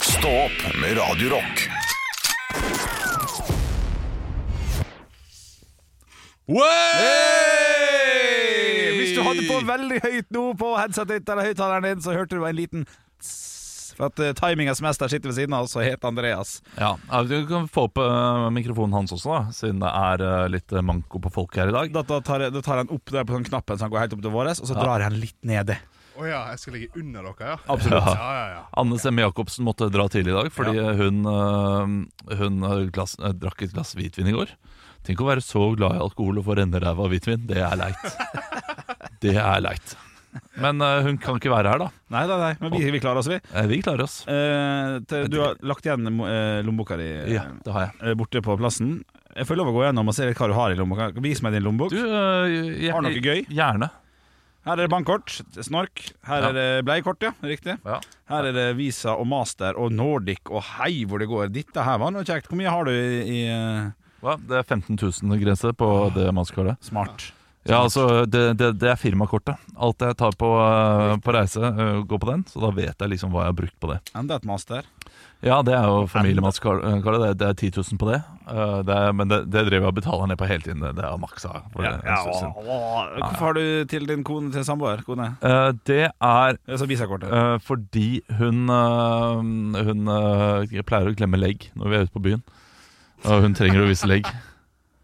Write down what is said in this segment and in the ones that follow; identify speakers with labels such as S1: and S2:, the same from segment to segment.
S1: Stå opp med Radio Rock.
S2: Hey!
S3: Hvis du hadde på veldig høyt nå på headsetet ditt eller høyttaleren din, så hørte du en liten tss, for at eh, timingens mester sitter ved siden av oss og heter Andreas.
S2: Ja, ja, Du kan få opp eh, mikrofonen hans også, da siden det er eh, litt eh, manko på folk her i dag.
S3: Da, da, tar, jeg- da tar han opp der på sånn knappen som går helt opp til våres, og så drar han litt nede.
S4: Å ja, jeg skal ligge under dere, ja?
S3: Absolutt.
S4: Ja, ja, ja.
S2: Anne Semme Jacobsen måtte dra tidlig i dag fordi hun, eh, hun eh, glass, eh, drakk et glass hvitvin i går. Tenk å være så glad i alkohol og få renneræva av hvitvin. Det er leit. Det er leit. Men eh, hun kan ikke være her, da.
S3: Nei, nei, nei, men vi, vi klarer oss, vi.
S2: Eh, Vi klarer oss.
S3: Eh, til, du har lagt igjen eh, lommeboka di eh,
S2: Ja, det har jeg.
S3: eh, borte på plassen. Jeg får lov å gå gjennom og se litt hva du har i lommeboka. Vis meg din lommebok.
S2: Du, eh,
S3: Har du noe gøy?
S2: Gjerne.
S3: Her er det bankkort, snork. Her
S2: Ja.
S3: er det bleiekort, ja. Riktig.
S2: Ja.
S3: Her er det Visa og Master og Nordic og hei hvor det går. Dette her var noe kjekt. Hvor mye har du i, i eh,
S2: Hva? Det er 15 000-grense på
S3: Ah.
S2: det mannskartet.
S3: Smart?
S2: Ja, altså, det, det, det er firmakortet. Alt jeg tar på, eh, på reise, eh, går på den. Så da vet jeg liksom hva jeg har brukt på det.
S3: Enda et master.
S2: Ja, det er jo familiematskaret. Det, er- det er 10 000 på det. Eh, det er, men det, det driver jeg og betaler ned på hele tiden. Det- Det er maksa. For en stund siden.
S3: Hvorfor har du til din kone til samboer? Kone?
S2: Eh, det er
S3: Altså Visa-kortet.
S2: eh, fordi hun eh, Hun eh, pleier å klemme legg når vi er ute på byen. Og hun trenger å vise legg.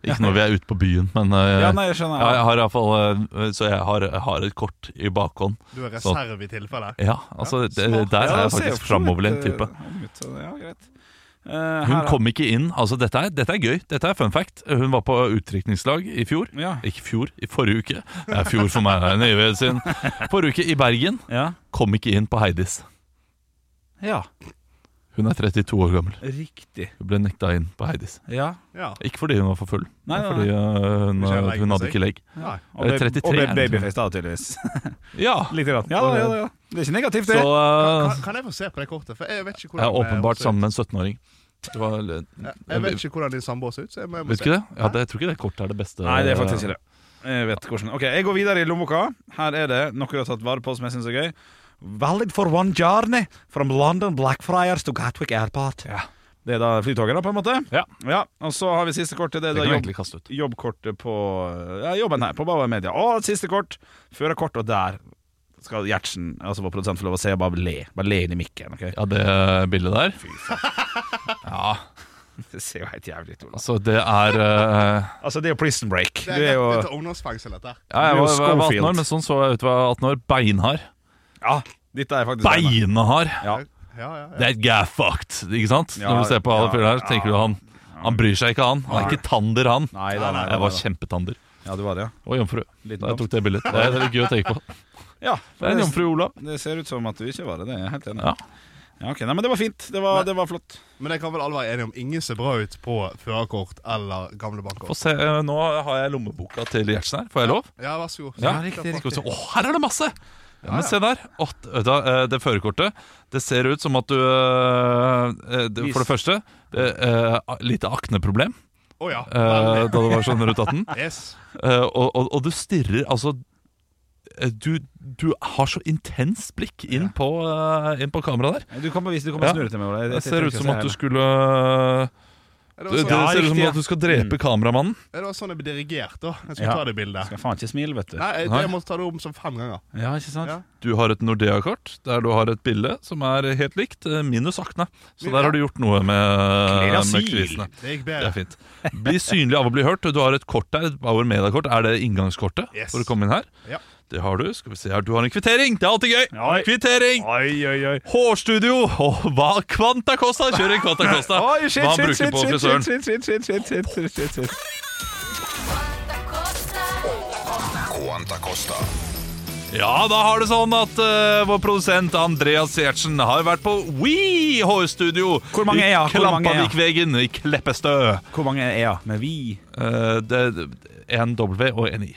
S2: Ikke når vi er ute på byen, men eh,
S3: Ja, nei, jeg skjønner.
S2: Ja, jeg har i hvert fall, eh, så jeg har, jeg har et kort i bakhånd.
S4: Du er reserve i tilfelle.
S2: Ja, altså, det, der
S3: Ja, det ser jo
S2: er jeg
S3: for så
S2: faktisk
S3: vidt,
S2: framoverlent
S3: eh,
S2: type.
S3: ung ut, så det- Ja, greit. Eh,
S2: Hun
S3: her-
S2: kom ikke inn. Altså, dette er, dette er gøy. Dette er fun fact. Hun var på utdrikningslag i fjor.
S3: Ja.
S2: Ikke fjor, i forrige uke. Det er fjor for meg, det er en evighet siden. Forrige uke i Bergen.
S3: ja.
S2: Kom ikke inn på Heidis.
S3: Ja,
S2: Hun er 32 år gammel.
S3: riktig.
S2: Hun ble nekta inn på Heidis.
S3: Ja.
S4: Ja.
S2: Ikke fordi hun var for full,
S3: Nei, nei,
S2: men fordi øh, hun,
S4: Ikke legge
S2: hun hadde
S4: seg.
S2: ikke legg.
S4: Nei.
S3: Og
S2: Eh,
S3: ble,
S2: 33
S3: og ble
S2: er det, tror jeg.
S3: babyface, da, tydeligvis.
S2: Ja!
S3: Litt i ratten. Ja, da, ja, da, ja. Det er ikke negativt, det.
S2: Så øh,
S4: Kan, kan jeg få se på det kortet? For jeg vet ikke
S2: jeg
S4: hvordan
S2: er åpenbart
S4: ser ut.
S2: sammen med en 17-åring. Det var
S4: Jeg, jeg vet ikke hvordan din samboer ser ut. Så jeg må, jeg må
S2: Vet du
S4: se.
S2: ikke det? Ja, det, jeg tror ikke det kortet er det beste.
S3: Nei, det er faktisk ikke det. Jeg vet hvordan Ok, jeg går videre i lommeboka. Her er det noe du har tatt vare på som jeg syns er gøy. Valid for one journey from London Blackfriars to Gatwick Airport.
S2: Ja.
S3: Det er da flytoget, da, på en måte?
S2: Ja.
S3: Og så har vi siste kortet. Det er da
S2: Det kan vi
S3: jobb,
S2: egentlig kaste ut.
S3: jobbkortet på ja, jobben her, på Bauer Media. Og siste kort. Førerkort, og der skal Gjertsen, altså vår produsent, få lov å se og bare le. Bare le inn i mikken. ok?
S2: Ja, det bildet der. Ja,
S3: Det ser jo helt jævlig ut. Olav.
S2: altså det er eh,
S3: Altså, det er jo prison break.
S4: Det
S3: Du
S4: er
S3: er jo
S4: rett ut av ungdomsfengsel, dette. her.
S2: ja,
S3: Du er
S2: Jeg
S3: jo
S2: var, jeg var 18
S3: Schofield.
S2: år, men sånn så jeg ut. Jeg var 18 år, Beinhard.
S3: Ja, dette er faktisk
S2: Beinhard!
S3: Ja.
S4: Ja, ja, ja.
S2: That guy fucked, ikke sant?
S3: Ja,
S2: Når du ser på alle
S3: ja,
S2: fyrer her, tenker du han Han bryr seg ikke, han. Han er ikke tander, han.
S3: Nei da, nei da,
S2: Jeg var
S3: nei da.
S2: kjempetander.
S3: Ja, du var det, ja.
S2: Og jomfru.
S3: Liten
S2: Da jeg tok det bildet. Det er det er litt gøy å tenke på.
S3: Ja,
S2: Det er en jomfru Olav.
S3: Det ser ut som at du ikke var det. Det er jeg helt enig. i.
S2: Ja.
S3: Ja, ok, Nei, men det var fint. Det var, det var flott.
S4: Men det kan vel alle være enige om ingen ser bra ut på førerkort eller gamle
S2: Få
S4: bankkort.
S2: se, eh, nå har jeg lommeboka til Gjertsen her. Får jeg lov?
S4: Ja, vær så god.
S2: Ja,
S4: Så-
S2: riktig, riktig. Å, her er det masse! Ja, men se der. Å, vet du hva, eh, det førerkortet Det ser ut som at du eh, eh, det- For det første, det, eh, lite akneproblem
S4: Å ja.
S2: eh, da du var sånn rundt 18.
S4: Yes.
S2: Eh, og, og, og du stirrer altså eh, du, du har så intenst blikk inn på, eh, inn på kameraet der.
S3: Du kan bevise, du kan bare
S2: Ja.
S3: snurre til meg. Ola. Jeg-
S2: Det
S3: jeg
S2: ser
S3: trenger
S2: ut
S3: ikke å
S2: som
S3: se
S2: at du
S3: hele.
S2: skulle eh,
S4: Ja, Det
S2: Det,
S4: var
S2: det
S4: sånn,
S3: Ja,
S2: ser ut som
S3: riktig, ja.
S2: at du skal drepe kameramannen.
S4: det var sånn jeg ble dirigert, da. Jeg skulle
S3: Ja.
S4: ta det bildet.
S3: Skal faen ikke smile, vet du.
S4: Nei, jeg,
S2: Nei.
S4: jeg måtte ta det om som fem ganger.
S3: Ja, ikke sant?
S4: Ja.
S2: Du har et Nordea-kort der du har et bilde som er helt likt, eh, minus akne. Så der har du gjort noe med,
S3: Klerasil.
S2: med krisene.
S4: Det gikk
S2: Det
S4: bedre.
S2: er fint. Bli synlig av å bli hørt. Du har et kort der, et Bauer Media-kort. Er det inngangskortet
S4: Yes.
S2: for å komme inn her?
S4: Ja.
S2: Det har du. Skal vi se her. Du har en kvittering! Det er alltid gøy!
S3: Oi.
S2: Kvittering!
S3: Oi, oi, oi.
S2: Hårstudio! Og hva Kvanta Costa! Kjør en Kvanta Costa!
S3: Oi, shit,
S2: hva han
S3: shit,
S2: bruker
S3: shit,
S2: på
S3: shit,
S2: frisøren.
S3: shit, shit, shit, shit, shit, shit, shit, shit.
S1: Quanta Costa.
S2: Ja, da har det sånn at eh, vår produsent Andreas Gjertsen har vært på We Hårstudio
S3: Hvor mange er jeg?
S2: i
S3: Hvor mange er jeg?
S2: Klampavikvegen i Kleppestø.
S3: Hvor mange er jeg? Med vi?
S2: Eh, det, en W og en I.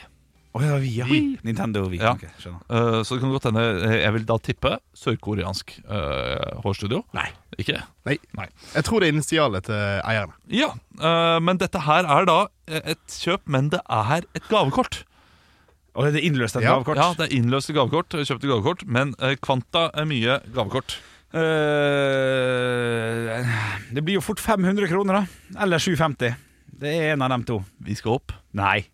S3: Å ja, vi, ja.
S2: Vi.
S3: Nintendo og vi.
S2: Ja.
S3: Ok, skjønner.
S2: Eh, så det kan godt hende eh, Jeg vil da tippe sørkoreansk eh, hårstudio. Nei. Ikke?
S4: Nei.
S2: Nei.
S4: Jeg tror det er initialet til eierne.
S2: Ja, eh, men dette her er da eh, et kjøp, men det er et gavekort.
S3: Og det er innløst et
S4: Ja.
S3: gavekort.
S2: Ja, det er innløste eh, gavekort, kjøpte gavekort, men eh, kvanta er mye gavekort.
S3: Eh, Det blir jo fort 500 kroner, da. Eller 750. Det er en av dem to.
S2: Vi skal opp
S3: Nei.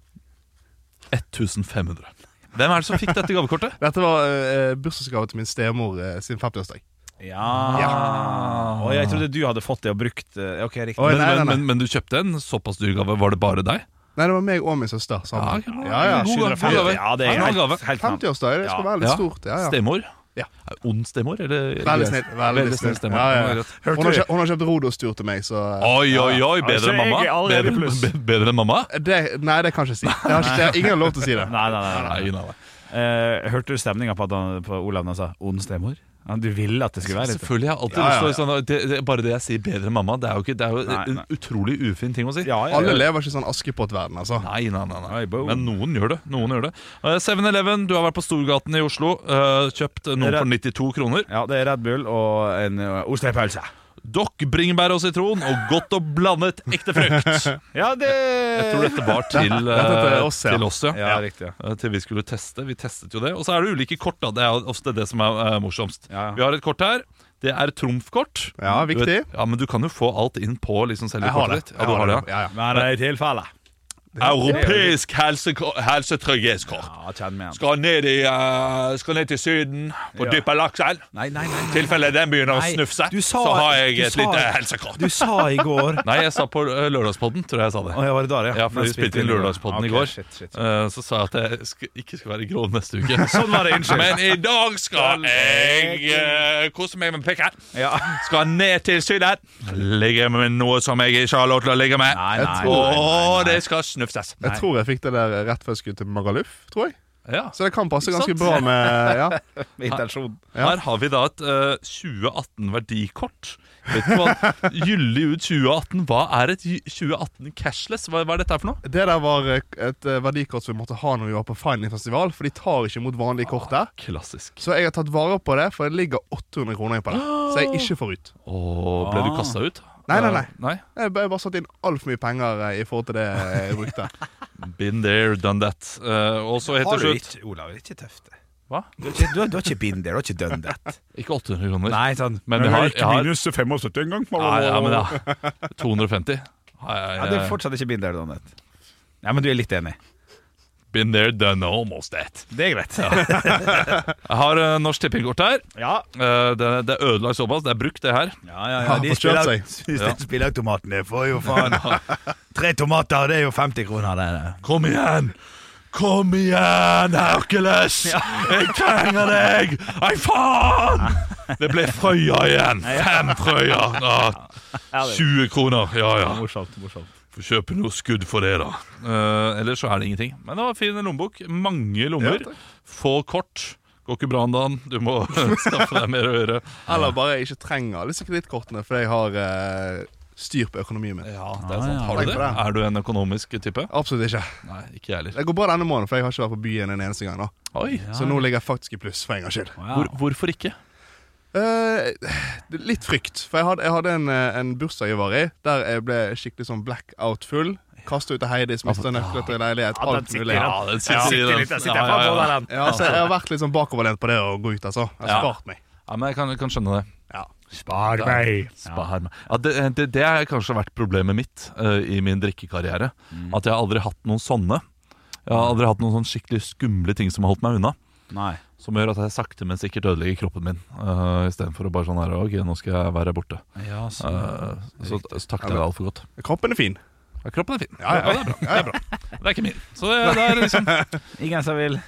S2: 1500. Hvem er det som fikk dette gavekortet?
S4: Dette var eh, bursdagsgave til min stemor eh, sin 50-årsdag.
S3: Ja, Å, Jeg trodde du hadde fått det og brukt eh, Ok, riktig.
S4: Oi,
S2: Men,
S4: nei, nei,
S2: men,
S4: nei.
S2: men, men du kjøpte en såpass dyr gave. Var det bare deg?
S4: Nei, det var meg og min søster sammen.
S2: Ja,
S4: Ja, ja,
S2: god gave, god
S3: 750.
S2: gave.
S3: Ja, det er
S2: Bra
S3: helt,
S2: gave.
S3: helt, knapt.
S4: 50-årsdag, det skal være litt
S2: Ja.
S4: stort. Ja, ja.
S2: Stemor?
S4: Ja.
S2: Er Ond stemor? Eller?
S4: Veldig snill. Veldig snill.
S2: stemor.
S4: Ja,
S2: Ja,
S4: ja.
S2: greit.
S4: Hun, har kjøpt, hun har kjøpt Rodos-tur til meg, så eh,
S2: Oi, oi, oi! Bedre
S3: Altså,
S2: enn
S3: jeg
S2: mamma?
S3: er allerede i
S2: Bedre,
S3: pluss.
S2: be- bedre enn mamma?
S4: eh, det, Nei, det kan jeg ikke si. Jeg har, ikke, jeg har ingen lov til å si det.
S3: Nei, nei, nei, nei.
S2: Nei, nei, nei.
S3: Eh, hørte du stemninga på, at han- på Olav da han sa 'ond stemor'? Ja, du ville at det skulle være litt
S2: Selvfølgelig. Jeg har alltid
S4: Ja, ja, ja.
S2: lyst til å sånn, det, det, Bare det jeg sier 'bedre enn mamma', det er jo, ikke, det er jo
S3: Nei,
S2: en
S3: nei.
S2: utrolig ufin ting å si.
S3: Ja, ja,
S4: Alle
S3: ja.
S4: lever ikke i sånn Askepott-verden, altså.
S2: Nei, nei, nei, nei.
S3: Nei, bo.
S2: Men noen gjør det. Noen gjør det Eh, 7-Eleven, du har vært på Storgaten i Oslo. eh, kjøpt noe
S3: Dere-
S2: for 92 kroner.
S3: ja, det er Red Bull og en eh, ostepølse.
S2: Dokk, bringebær og sitron, og godt og blandet ekte frukt.
S3: Ja, det
S2: Jeg tror dette var til,
S4: Dette er
S2: eh,
S4: oss, ja.
S2: til oss, ja.
S3: Ja, riktig. Ja.
S2: Eh, Til vi skulle teste. Vi testet jo det. Og så er det ulike kort. da Det er jo ofte det som er eh, morsomst.
S3: Ja, ja.
S2: Vi har et kort her. Det er trumfkort.
S4: Ja,
S2: Du
S4: viktig.
S2: vet- Ja, Men du kan jo få alt inn på liksom selve
S4: Jeg har det.
S2: kortet ditt. Ja, du har det, ja.
S4: Ja, ja.
S3: Men i tilfelle
S2: Europeisk helsekort- helsetrygghetskort.
S3: Ja, kjenn med han.
S2: Skal ned, i, eh, skal ned til Syden og
S3: Ja.
S2: dyppe laks i elv.
S3: Nei, nei, nei.
S2: I tilfelle den
S3: Nei,
S2: begynner å snufse,
S3: du sa-
S2: så har jeg
S3: du
S2: et
S3: sa-
S2: lite helsekort.
S3: Du sa i går
S2: Nei, jeg sa på eh, Lørdagspodden, tror jeg jeg sa det.
S3: Å, ja, var det der, ja?
S2: Ja, for
S3: Den
S2: vi spilte
S3: i
S2: inn
S3: går.
S2: Lørdagspodden i
S3: Ok,
S2: går.
S3: Shit, shit, shit.
S2: Eh, Så sa jeg at jeg sk ikke skulle være grov neste uke.
S3: Sånn var det, unnskyld.
S2: Men i dag skal jeg eh, kose meg med pikken.
S3: Ja.
S2: Skal ned til Syden. Ligge med noe som jeg ikke har lov til å ligge med.
S3: Nei,
S4: Jeg
S3: nei,
S4: tror-
S3: nei, nei,
S2: Og
S3: nei.
S2: det skal snufses.
S4: Jeg tror jeg fikk det der rett før jeg skulle til Magaluf, tror jeg.
S2: Ja.
S4: Så det kan passe
S2: Ikke
S4: ganske
S2: sant?
S4: bra med ja.
S3: Intensjon.
S4: Ja.
S2: Her har vi da et eh, 2018-verdikort. Vet du hva Gyldig ut 2018. Hva er et gy- 2018 cashless? Hva, hva er dette her for noe?
S4: Det der var eh, et eh, verdikort som vi måtte ha når vi var på Finding-festival, for de tar ikke imot vanlige kort der.
S2: Klassisk.
S4: Så jeg har tatt vare på det, for det ligger 800 kroner på det. Så jeg ikke får ut.
S2: Åh, ble du
S3: Ah.
S2: kasta ut?
S4: Nei, nei, nei.
S2: Eh, nei.
S4: Jeg har bare bare satt inn altfor mye penger eh, i forhold til det jeg brukte.
S2: Been there, done that. Eh, og så helt
S3: Har
S2: til
S3: du
S2: slutt
S3: ikke, Olav, det er ikke tøft det.
S2: Hva?
S3: Du har ikke, du har, du har ikke been there, du har ikke done that.
S2: Ikke 800 kroner.
S3: Nei, sånn.
S2: Men jeg har- jeg har-
S3: minus 75 engang.
S2: Nei, ja, men ja. 250. Har jeg,
S3: Ja, du er fortsatt ikke been there, done that. Ja, men du er litt enig.
S2: Been there, done almost that.
S3: Det er greit.
S2: Jeg har eh, Norsk Tippingkort her.
S3: Ja,
S2: Eh, det, det er ødelagt såpass. Det er brukt, det her.
S3: ja, ja,
S4: Ja,
S3: De
S4: fått kjøpt
S3: spiller, ja. spilleautomatene får jo faen Tre tomater, det er jo 50 kroner det er det.
S2: Kom igjen! Kom igjen, Hercules! Jeg trenger deg! Ei, faen! Det ble Frøya igjen. Fem Frøyer. Ja, 20 kroner. Ja, ja.
S3: Morsomt, morsomt
S2: Får kjøpe noe skudd for det, da. Eh, ellers så er det ingenting. Men det var fin lommebok. Mange lommer.
S4: Ja, takk.
S2: Få kort. Går ikke bra om dagen. Du må skaffe deg mer å gjøre.
S4: Eller bare jeg ikke trenger alle disse kredittkortene fordi jeg har eh, styr på økonomien min.
S2: Ah, Ja, det er sant. Har
S4: Takk
S2: du det?
S4: for det.
S2: Er du en økonomisk type?
S4: Absolutt ikke.
S2: Nei, ikke jeg heller.
S4: Det går bra denne måneden, for jeg har ikke vært på byen en eneste gang. nå
S2: Oi,
S4: Så nå ligger jeg faktisk i pluss, for en gangs skyld.
S2: Hvor, hvorfor ikke?
S4: Eh, litt frykt. For jeg hadde, jeg hadde en, eh, en bursdag jeg var i, der jeg ble skikkelig sånn blackout-full. Kasta ut av Heidis, mista nøkler til leilighet,
S3: Altså, ah. Ja, den
S4: alt mulig.
S3: sitter,
S2: den
S3: Sitter litt, jeg sitter faen på der den.
S4: Ja, så jeg har vært litt sånn bakoverlent på det å gå ut, altså. Jeg har
S2: Ja.
S4: spart meg.
S2: Ja, men jeg kan, kan skjønne det.
S4: Ja.
S3: Spar meg
S2: Spar meg. Ja, det, eh, det, det har kanskje vært problemet mitt eh, i min drikkekarriere. At jeg har aldri hatt noen sånne. Jeg har aldri hatt noen sånn skikkelig skumle ting som har holdt meg unna.
S3: Nei
S2: Som gjør at jeg sakte, men sikkert ødelegger kroppen min. Uh, Istedenfor å bare sånn her Ok, nå skal jeg være borte.
S3: ja, så.
S2: Eh, så, så takler jeg det altfor godt.
S4: Kroppen er fin.
S2: Ja, kroppen er fin.
S4: Ja, ja,
S2: det er bra.
S4: Ja, det er bra.
S2: Det er ikke min. Så det, det er liksom
S3: Ingen som vil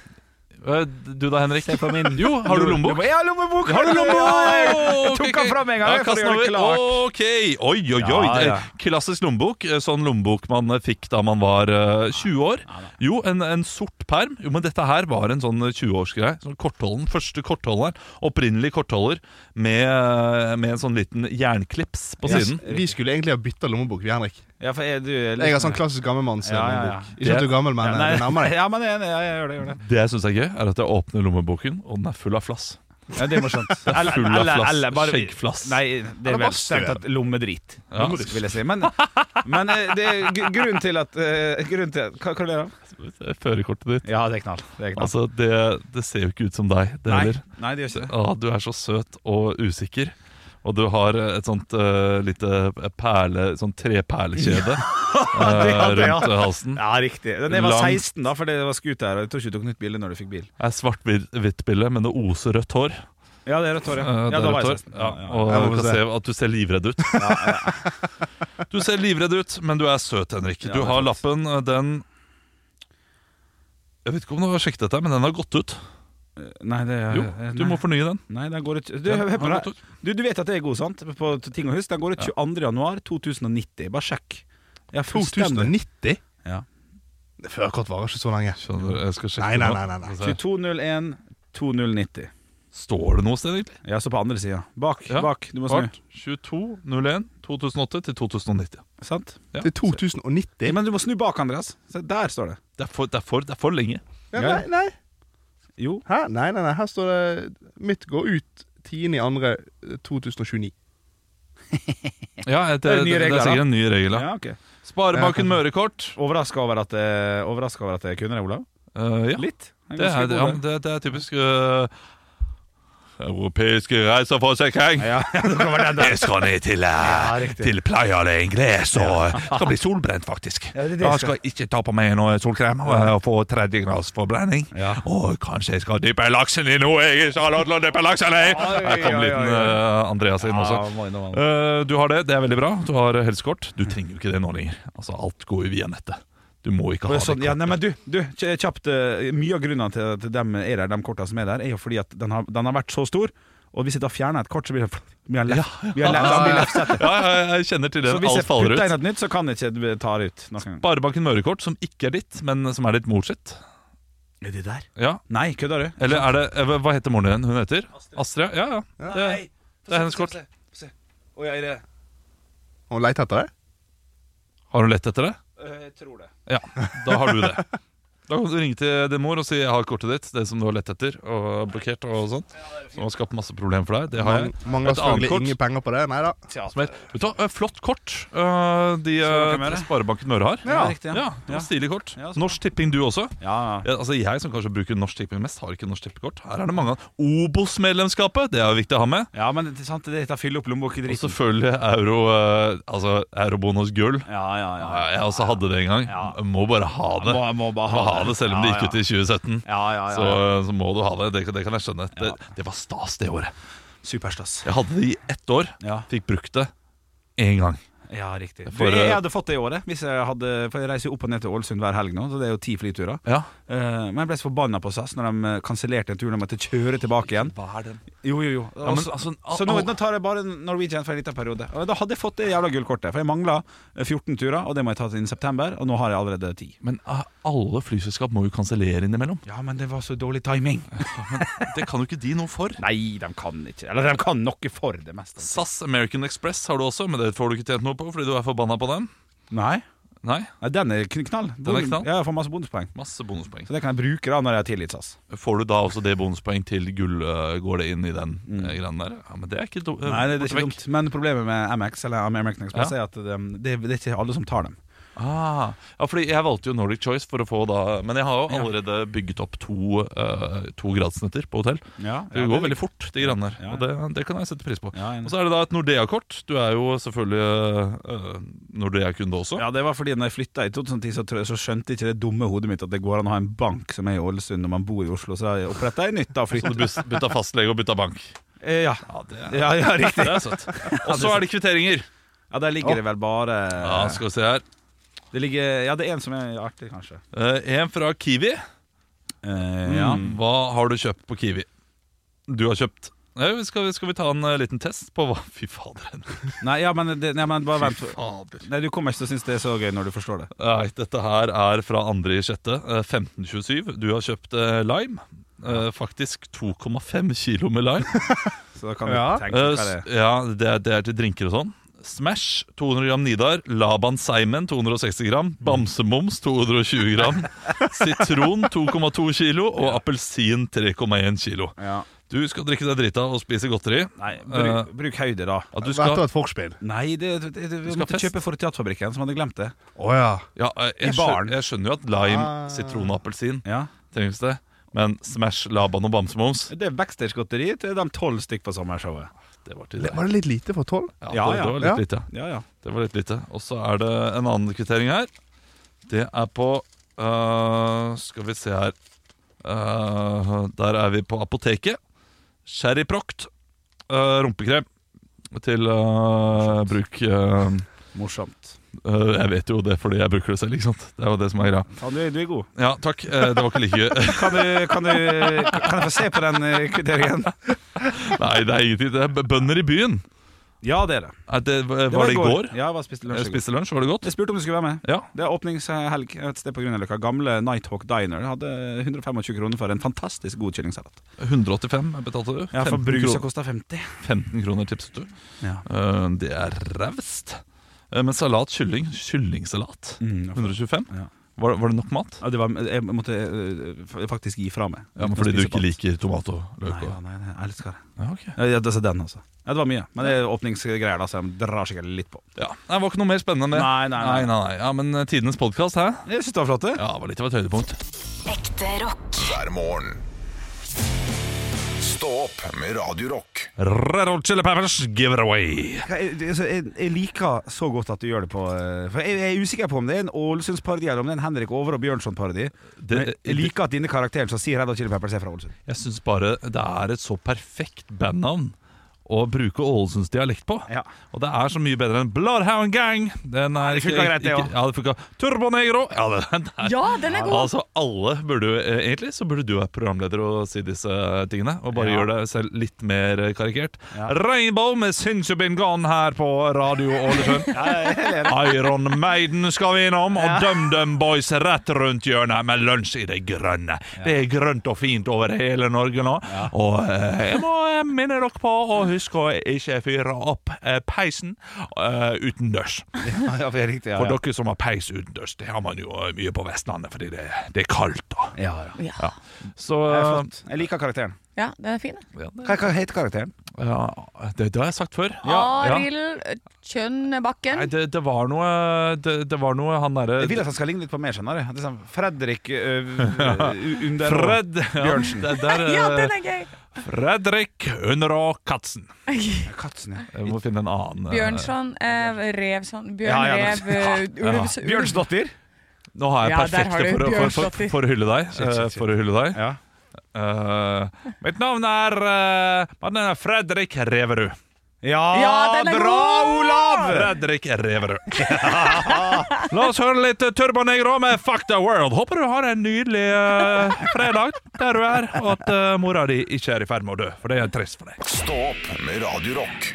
S2: Eh, Du da, Henrik?
S3: se på min
S2: Jo, har du lommebok?
S3: Ja, lommebok
S2: Har du lommebok?
S3: Ja, Jeg
S2: Ok,
S3: tok
S2: ok.
S3: den fram en gang
S2: Ja,
S3: jeg, for å
S2: kasten
S3: gjøre det
S2: over.
S3: klart
S2: Ok, oi, oi, oi.
S3: Ja, ja.
S2: Klassisk lommebok. eh, Sånn lommebok man eh, fikk da man var eh, 20 år. Jo, en, en sort perm. Jo, men dette her var en sånn eh, 20-årsgreie. Sånn kortholden, Første kortholderen. Opprinnelig kortholder med, eh, med en sånn liten jernklips på
S4: Vi,
S2: siden.
S4: vi skulle egentlig ha bytta lommebok, vi, Henrik.
S3: Ja, for jeg, du er litt-
S4: Jeg har sånn klassisk gammelmanns
S3: Ja, ja, ja.
S4: lommebok. Ikke at du er gammel, men
S3: Ja,
S4: eh,
S3: nei.
S4: du nærmer deg.
S3: Ja, men jeg, er enig. ja, jeg gjør det, jeg gjør det
S2: Det jeg syns er gøy, er at jeg åpner lommeboken, og den er full av flass.
S3: Ja, det er sånn, morsomt. Eller-
S2: full av
S3: eller-
S2: flass.
S3: eller bare-
S2: Skjeggflass.
S3: Nei, det
S4: Eller
S3: er
S4: bare
S3: vel strengt tatt lommedrit,
S2: Ja.
S3: vil jeg si. Men, men eh, det er gr- grunnen til at eh, grunnen til, Hva, hva er det da?
S2: Førerkortet ditt.
S3: Ja, det er knall. Det er knall.
S2: Altså, det, det ser jo ikke ut som deg, det
S3: nei,
S2: heller.
S3: nei, det gjør ikke det.
S2: Å, du er så søt og usikker. Og du har eh, et sånt eh, lite perle, sånn treperlekjede eh,
S3: det hadde jeg.
S2: rundt eh, halsen.
S3: Ja, riktig. Den jeg var
S2: Langt.
S3: 16, da, fordi det var scooter. og Jeg tror ikke du tok nytt bilde når du fikk bil.
S2: Det er svart-hvitt bilde, men det oser rødt hår.
S3: Ja, det er rødt hår, ja.
S2: Eh,
S3: ja da
S2: det er
S3: var jeg
S2: rødt
S3: 16.
S2: hår. Ja,
S3: Ja,
S2: og
S4: Jeg må
S2: du kan
S4: se.
S2: se at du ser livredd ut. Du ser livredd ut, men du er søt, Henrik.
S3: Ja,
S2: Du
S3: det er
S2: har
S3: sant.
S2: lappen, eh, den Jeg vet ikke om du har sjekket dette, men den har gått ut.
S3: ja. Nei, det er
S2: Jo,
S3: eh,
S2: du
S3: nei.
S2: må fornye den.
S3: Nei, den går ikke Du,
S2: Den
S3: hør på
S2: har
S3: det.
S2: gått ut.
S3: Du, du vet at jeg er god, sant? På ting og hus. Den går ut 22. januar 2090. Bare sjekk. Ja, fullstendig.
S4: 2090?
S3: Ja.
S4: Det Førerkort varer ikke så lenge.
S2: Skjønner, jeg skal sjekke
S4: Nei, nei,
S2: nå.
S4: nei, nei, nei.
S2: Skal vi se.
S3: 2201 2090.
S2: Står det noe sted, egentlig?
S3: Ja, så på andre sida. Bak,
S2: Ja.
S3: bak. Du må snu.
S2: 22.01 2008 til 2090.
S3: Sant?
S2: Ja.
S4: Til 2090?
S3: Men du må snu bak, Andreas. Se, der står det.
S2: Det er for, det er for, det er for lenge.
S4: Ja, nei, nei.
S3: Jo.
S4: Hæ? Nei, nei, nei. Her står det Mitt går ut eh, 10.2.2029.
S2: Ja, det, det,
S3: er nye
S2: det,
S3: regler,
S2: er sikkert en ny regel. Ja.
S3: Ja, ok
S2: Sparebanken Mørekort.
S3: Overraska over at jeg, overrasket over at jeg kunne det, Olav?
S2: Eh, ja.
S3: Litt. Jeg
S2: Det
S3: ganske
S2: er,
S3: god
S2: ja,
S3: der.
S2: men det, det er typisk eh, Europeiske reiseforsikring.
S3: Ja, ja, det var den der.
S2: Jeg skal ned til, uh,
S3: riktig.
S2: til Playa de Ingles og eh, skal bli solbrent, faktisk.
S3: Ja, det er det
S2: Da
S3: jeg
S2: skal jeg ikke ta på meg noe solkrem og eh, få tredje grads forbrenning.
S3: Ja.
S2: Og kanskje jeg skal dyppe laksen i noe jeg ikke har lov til å dyppe laksen i!
S3: Oi,
S2: Her kom
S3: oi,
S2: liten
S3: oi, oi.
S2: eh, Andreas inn også.
S3: Ja, må innom han.
S2: Eh, du har det, det er veldig bra. Du har helsekort. Du trenger jo ikke det nå lenger. Altså, alt går jo via nettet. Du må ikke
S3: Og
S2: ha
S3: jeg Sånn,
S2: det.
S3: ja, nei, men du, du kj- kjapt eh, Mye av grunnen til at dem er der, de kortene som er der, er jo fordi at den har, den har vært så stor. Og hvis jeg da fjerner et kort, så blir det blir den left, blir den left, den blir lefsete.
S2: Ja, ja, jeg kjenner til det.
S3: Så hvis
S2: Alt
S3: jeg
S2: faller
S3: putter
S2: ut.
S3: inn et nytt, så kan jeg ikke eh, ta det ut. Noen gang.
S2: Sparebanken Mørekort, som ikke er ditt, men som er ditt mors sitt.
S3: Er det der?
S2: Ja.
S3: Nei, kødder du?
S2: Eller er det eh, hva- Hva heter moren din? Hun heter Astrid? Ja, ja. Det, det er hennes kort.
S3: Å, jeg, det,
S4: Og leit etter det?
S2: Har hun lett etter det?
S3: Eh, jeg tror det.
S2: Ja, da har du det. Da kan du ringe til din mor og si 'jeg har kortet ditt', det som du har lett etter og har blokkert og sånn. Som har skapt masse problemer for deg. Det har jeg.
S4: Mang- Mangler
S2: Et annet
S4: selvfølgelig
S2: kort.
S4: ingen penger på det. Nei da.
S2: Som er, vet du, hva, eh, flott kort eh, de
S3: Sparebanken
S2: eh,
S3: Møre.
S2: Sparebanken Møre har.
S3: Ja, riktig, ja.
S2: ja det var Stilig kort.
S3: Ja, sånn. så bra.
S2: Norsk Tipping du også.
S3: Ja,
S2: Ja, altså Jeg som kanskje bruker Norsk Tipping mest, har ikke Norsk Tippekort. Her er det mange av Obos-medlemskapet, det er jo viktig å ha med.
S3: ja men det er sant, det er fylle opp lommeboka i
S2: Og
S3: driten.
S2: selvfølgelig euro, eh, altså, eurobonus gull.
S3: Ja, ja, ja.
S2: Ja, Jeg også hadde det en gang.
S3: Ja.
S2: Jeg Må bare ha det.
S3: Må, må bare
S2: Må ha det Selv om det gikk ut i 2017.
S3: Ja, ja,
S2: Så,
S3: ja. ja.
S2: så må du ha det. Det, det kan jeg skjønne. Det, det var stas det året.
S3: Superstas.
S2: Jeg hadde det i ett år.
S3: Ja.
S2: Fikk brukt det én gang.
S3: Ja, riktig.
S2: For,
S3: du, jeg
S2: eh,
S3: hadde fått det i året. Hvis jeg hadde, for jeg reiser jo opp og ned til Ålesund hver helg nå, så det er jo ti flyturer.
S2: Ja.
S3: Eh, men jeg ble så forbanna på SAS når de eh, kansellerte en tur de måtte kjøre tilbake igjen.
S2: Hva er den?
S3: Jo, jo, jo.
S2: Ja, men,
S3: så
S2: altså,
S3: så nå, nå tar jeg bare Norwegian for en liten periode. Og da hadde jeg fått det jævla gullkortet, for jeg mangla 14 turer, og det må jeg ta innen september, og nå har jeg allerede 10.
S2: men eh, alle flyselskap må jo kansellere innimellom.
S3: Ja, men det var så dårlig timing.
S2: Det kan jo ikke de noe for.
S3: Nei, de kan ikke Eller de kan noe for det meste.
S2: SAS American Express har du også, men det får du ikke tjent noe på fordi du er forbanna på den.
S3: Nei,
S2: Nei,
S3: Nei den er kn- knall.
S2: Den er knall.
S3: Ja, jeg får masse bonuspoeng.
S2: masse bonuspoeng.
S3: Så det kan jeg bruke da når jeg har tillit SAS.
S2: Får du da også det bonuspoeng til gull? eh, går det inn i den mm. greien der? Ja, men det er ikke, do
S3: Nei, det, det er ikke
S2: borte vekk.
S3: dumt. Men problemet med MX eller American Express
S2: Ja.
S3: er at det, det, det er ikke alle som tar dem.
S2: Ah, ja, fordi jeg valgte jo Nordic Choice for å få da Men jeg har jo allerede bygget opp to, eh, to gradsnetter på hotell.
S3: Ja,
S2: Det går veldig fort, de greiene der.
S3: Ja.
S2: Og det, det kan jeg sette pris på.
S3: Ja, enig.
S2: Og så er det da et Nordea-kort. Du er jo selvfølgelig eh, Nordea-kunde også.
S3: Ja, det var fordi når jeg flytta i 2010, så, tror jeg- så skjønte ikke det dumme hodet mitt at det går an å ha en bank som er i Ålesund når man bor i Oslo. Så jeg oppretta ei nytt da.
S2: Så du
S3: Flytta.
S2: bus- bytta fastlege og bytta bank.
S3: Eh, ja.
S2: Ja, det er,
S3: Ja, ja, riktig.
S2: det er søtt. Og så er det kvitteringer.
S3: Ja, der ligger det vel
S2: Ja,
S3: bare
S2: skal vi se her.
S3: Det ligger Ja, det er en som er artig, kanskje.
S2: Eh, en fra Kiwi.
S3: Eh, ja.
S2: Mm, Hva har du kjøpt på Kiwi? Du har kjøpt Eh, skal, vi- skal vi ta en eh, liten test på hva Fy fader. Henrik.
S3: Nei, ja, men, det, nei, men bare vent.
S2: fader.
S3: Nei, Du kommer ikke til å synes det er så gøy når du forstår det.
S2: Nei, dette her er fra 2. i sjette, eh, 1527. Du har kjøpt eh, lime. Eh, faktisk 2,5 kilo med lime.
S3: Så da kan du
S4: Ja.
S3: tenke
S2: Eh,
S3: hva
S2: s-
S3: det er.
S2: ja, det, er- det er til drinker og sånn. Smash 200 gram Nidar. Laban Seimen 260 gram. Bamsemums 220 gram. Sitron 2,2 kilo. Og appelsin 3,1 kilo.
S3: Ja.
S2: Du skal drikke deg drita og spise godteri.
S3: Nei, bruk, bruk høyde, da.
S2: At du
S4: Skal... Vært
S2: skal,
S4: et forspill.
S3: Nei, det, det, det, vi
S2: skal
S3: måtte
S2: fest.
S3: kjøpe for Teaterfabrikken, som hadde glemt det.
S4: Å ja.
S2: ja, eh, jeg,
S3: I baren.
S2: skjønner, jeg skjønner jo at lime,
S4: Ah.
S2: sitron og appelsin
S3: Ja
S2: trengs det. Men Smash, Laban og Bamsemums
S3: Det er backstage-godteri til de tolv stykk på sommershowet.
S2: Det var til
S4: Det-
S2: deg.
S4: Var det litt lite for tolv?
S2: Ja,
S3: Ja,
S2: det,
S3: ja.
S2: det var litt
S4: Ja.
S2: lite.
S3: Ja, ja.
S2: Det var litt lite. Og så er det en annen kvittering her. Det er på øh, Skal vi se her. Øh, der er vi på apoteket. Sherryproct. øh, rumpekrem. Til øh, bruk øh,
S3: Morsomt.
S2: øh, Jeg vet jo det fordi jeg bruker det selv, ikke sant. Det er jo det som er greia.
S3: Ja, du, du er god.
S2: Ja, takk. Eh, det var ikke like gøy.
S3: Kan, du, kan, du, kan jeg få se på den eh, kvitteringen?
S2: Nei, det er ingenting. Det er b- bønder i byen.
S3: Ja, det er det.
S2: Er det, var, det i går?
S3: Ja, jeg var spiste lunsj
S2: Jeg
S3: i går.
S2: spiste lunsj, var det godt?
S3: Jeg spurte om du skulle være med.
S2: Ja.
S3: Det er åpningshelg et sted på Grünerløkka. Gamle Nighthawk Diner hadde 125 kroner for en fantastisk god kyllingsalat.
S2: 185 betalte du.
S3: Ja, for
S2: 15
S3: brusa
S2: kroner-
S3: kosta 50.
S2: 15 kroner tipset du.
S3: Ja.
S2: Eh, det er raust. Eh, men salat, kylling, kyllingsalat,
S3: Mm,
S2: 125.
S3: Ja.
S2: Var, var det nok mat?
S3: Ja, det var, jeg måtte eh, f- faktisk gi fra meg.
S2: Ja, men Fordi du ikke liker tomat og løk?
S3: Nei, ja,
S2: Og...
S3: nei, nei, jeg elsker det.
S2: Ja, ok.
S3: Ja, det- altså den, altså. Ja, det var mye. Men det er åpningsgreier, da, så de drar sikkert litt på.
S2: ja. Nei, det var ikke noe mer spennende enn det.
S3: Nei, nei, nei.
S2: nei, nei. Ja, Men eh, tidenes podkast, hæ?
S3: Jeg syns det var flott, det.
S2: Ja, det var litt av et høydepunkt.
S5: Ekte rock.
S1: hver morgen. Stå opp med Radio Rock.
S2: Red Hot Chili Peppers giveaway.
S3: Hva- Jeg, altså, jeg, jeg liker så godt at du gjør det på eh, For jeg, jeg er usikker på om det er en Ålesundsparodi eller om det er en Henrik Over og Bjørnson-parodi.
S2: Det-
S3: Men Jeg liker at dine karakterer som sier Red Hot Chili Peppers er fra Ålesund.
S2: Jeg syns bare det er et så perfekt bandnavn å bruke Ålesunds dialekt på.
S3: Ja.
S2: Og det er så mye bedre enn Bloodhound Gang. Den er
S3: det
S2: ikke-
S3: funka greit, det
S2: ikke-
S3: òg.
S2: Ja, det funka. Turbo Negro. Ja, det, det er.
S5: Ja, den er god!
S2: Altså, alle burde jo eh, Egentlig så burde du være programleder og si disse eh, tingene. Og bare
S3: Ja.
S2: gjøre deg selv litt mer eh, karikert.
S3: Ja.
S2: Rainbow med 'Since You've Been Gone' her på Radio Ålesund. Iron Maiden skal vi innom, og DumDum Boys rett rundt hjørnet med lunsj i det grønne. Det er grønt og fint over hele Norge nå, og eh, jeg må eh, minne dere på å huske å ikke fyre opp eh, peisen eh, utendørs.
S3: Ja, for det er riktig, ja,
S2: For
S3: ja.
S2: dere som har peis utendørs, det har man jo eh, mye på Vestlandet, fordi det, det er kaldt da.
S3: Ja, ja.
S5: Ja.
S2: Så
S3: Det er
S2: eh,
S3: flott. Jeg liker karakteren.
S5: ja, den er fin. da.
S2: ja, det,
S3: Hva, hva heter karakteren?
S2: ja, det, det har jeg sagt før. Ja, ja.
S5: Arild Kjønnbakken.
S2: Nei, det, det var noe Det, det var noe han derre
S3: Jeg vil at han skal ligne litt på meg, skjønner du. At det er sånn Fredrik uh, Under
S2: Fred
S3: Bjørnsen.
S2: Ja, det der,
S5: Ja,
S2: eh,
S5: den er gøy!
S2: Fredrik Underå Katzen.
S3: Katzen, ja.
S2: Jeg må finne en annen. eh,
S5: Bjørnson, eh, Revson Bjørn
S3: Ja, ja,
S5: Rev, eh,
S2: ja.
S5: Ulvs- Ulvs-
S3: Bjørnsdotter.
S2: Nå har jeg
S5: Ja, der
S2: perfekte
S5: har du
S2: for, å- for, for,
S5: Bjørnslottir.
S2: for å hylle deg.
S3: Shit, shit,
S2: eh,
S3: shit.
S2: For å hylle deg.
S3: Ja.
S2: Eh, mitt navn er eh, Mitt navn er Fredrik Reverud.
S3: Ja,
S5: Ja, den er
S3: bra,
S5: god!
S3: Olav!
S2: Fredrik Reverud. La oss høre litt eh, Turbo Negro med Fuck the World. Håper du har en nydelig eh, fredag der du er, og at eh, mora di ikke er i ferd med å dø. For det er trist for deg.
S1: Stå opp med Radio Rock.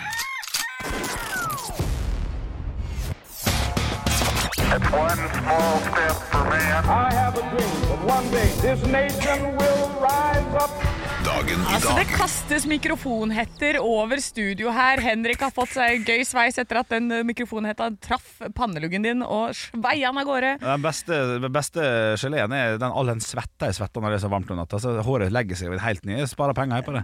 S6: One small step for man. I have a dream that one day this nation will rise up.
S1: Dagen i
S5: Altså, det
S1: dag
S5: kastes mikrofonhetter over studio her. Henrik har fått seg en gøy sveis etter at den eh, mikrofonhetta traff panneluggen din og sveia han av gårde.
S3: Den beste, den beste geleen er den, all den svetta jeg svetter når det er så varmt om natta. Så håret legger seg jo helt ned. Jeg sparer penger her på det.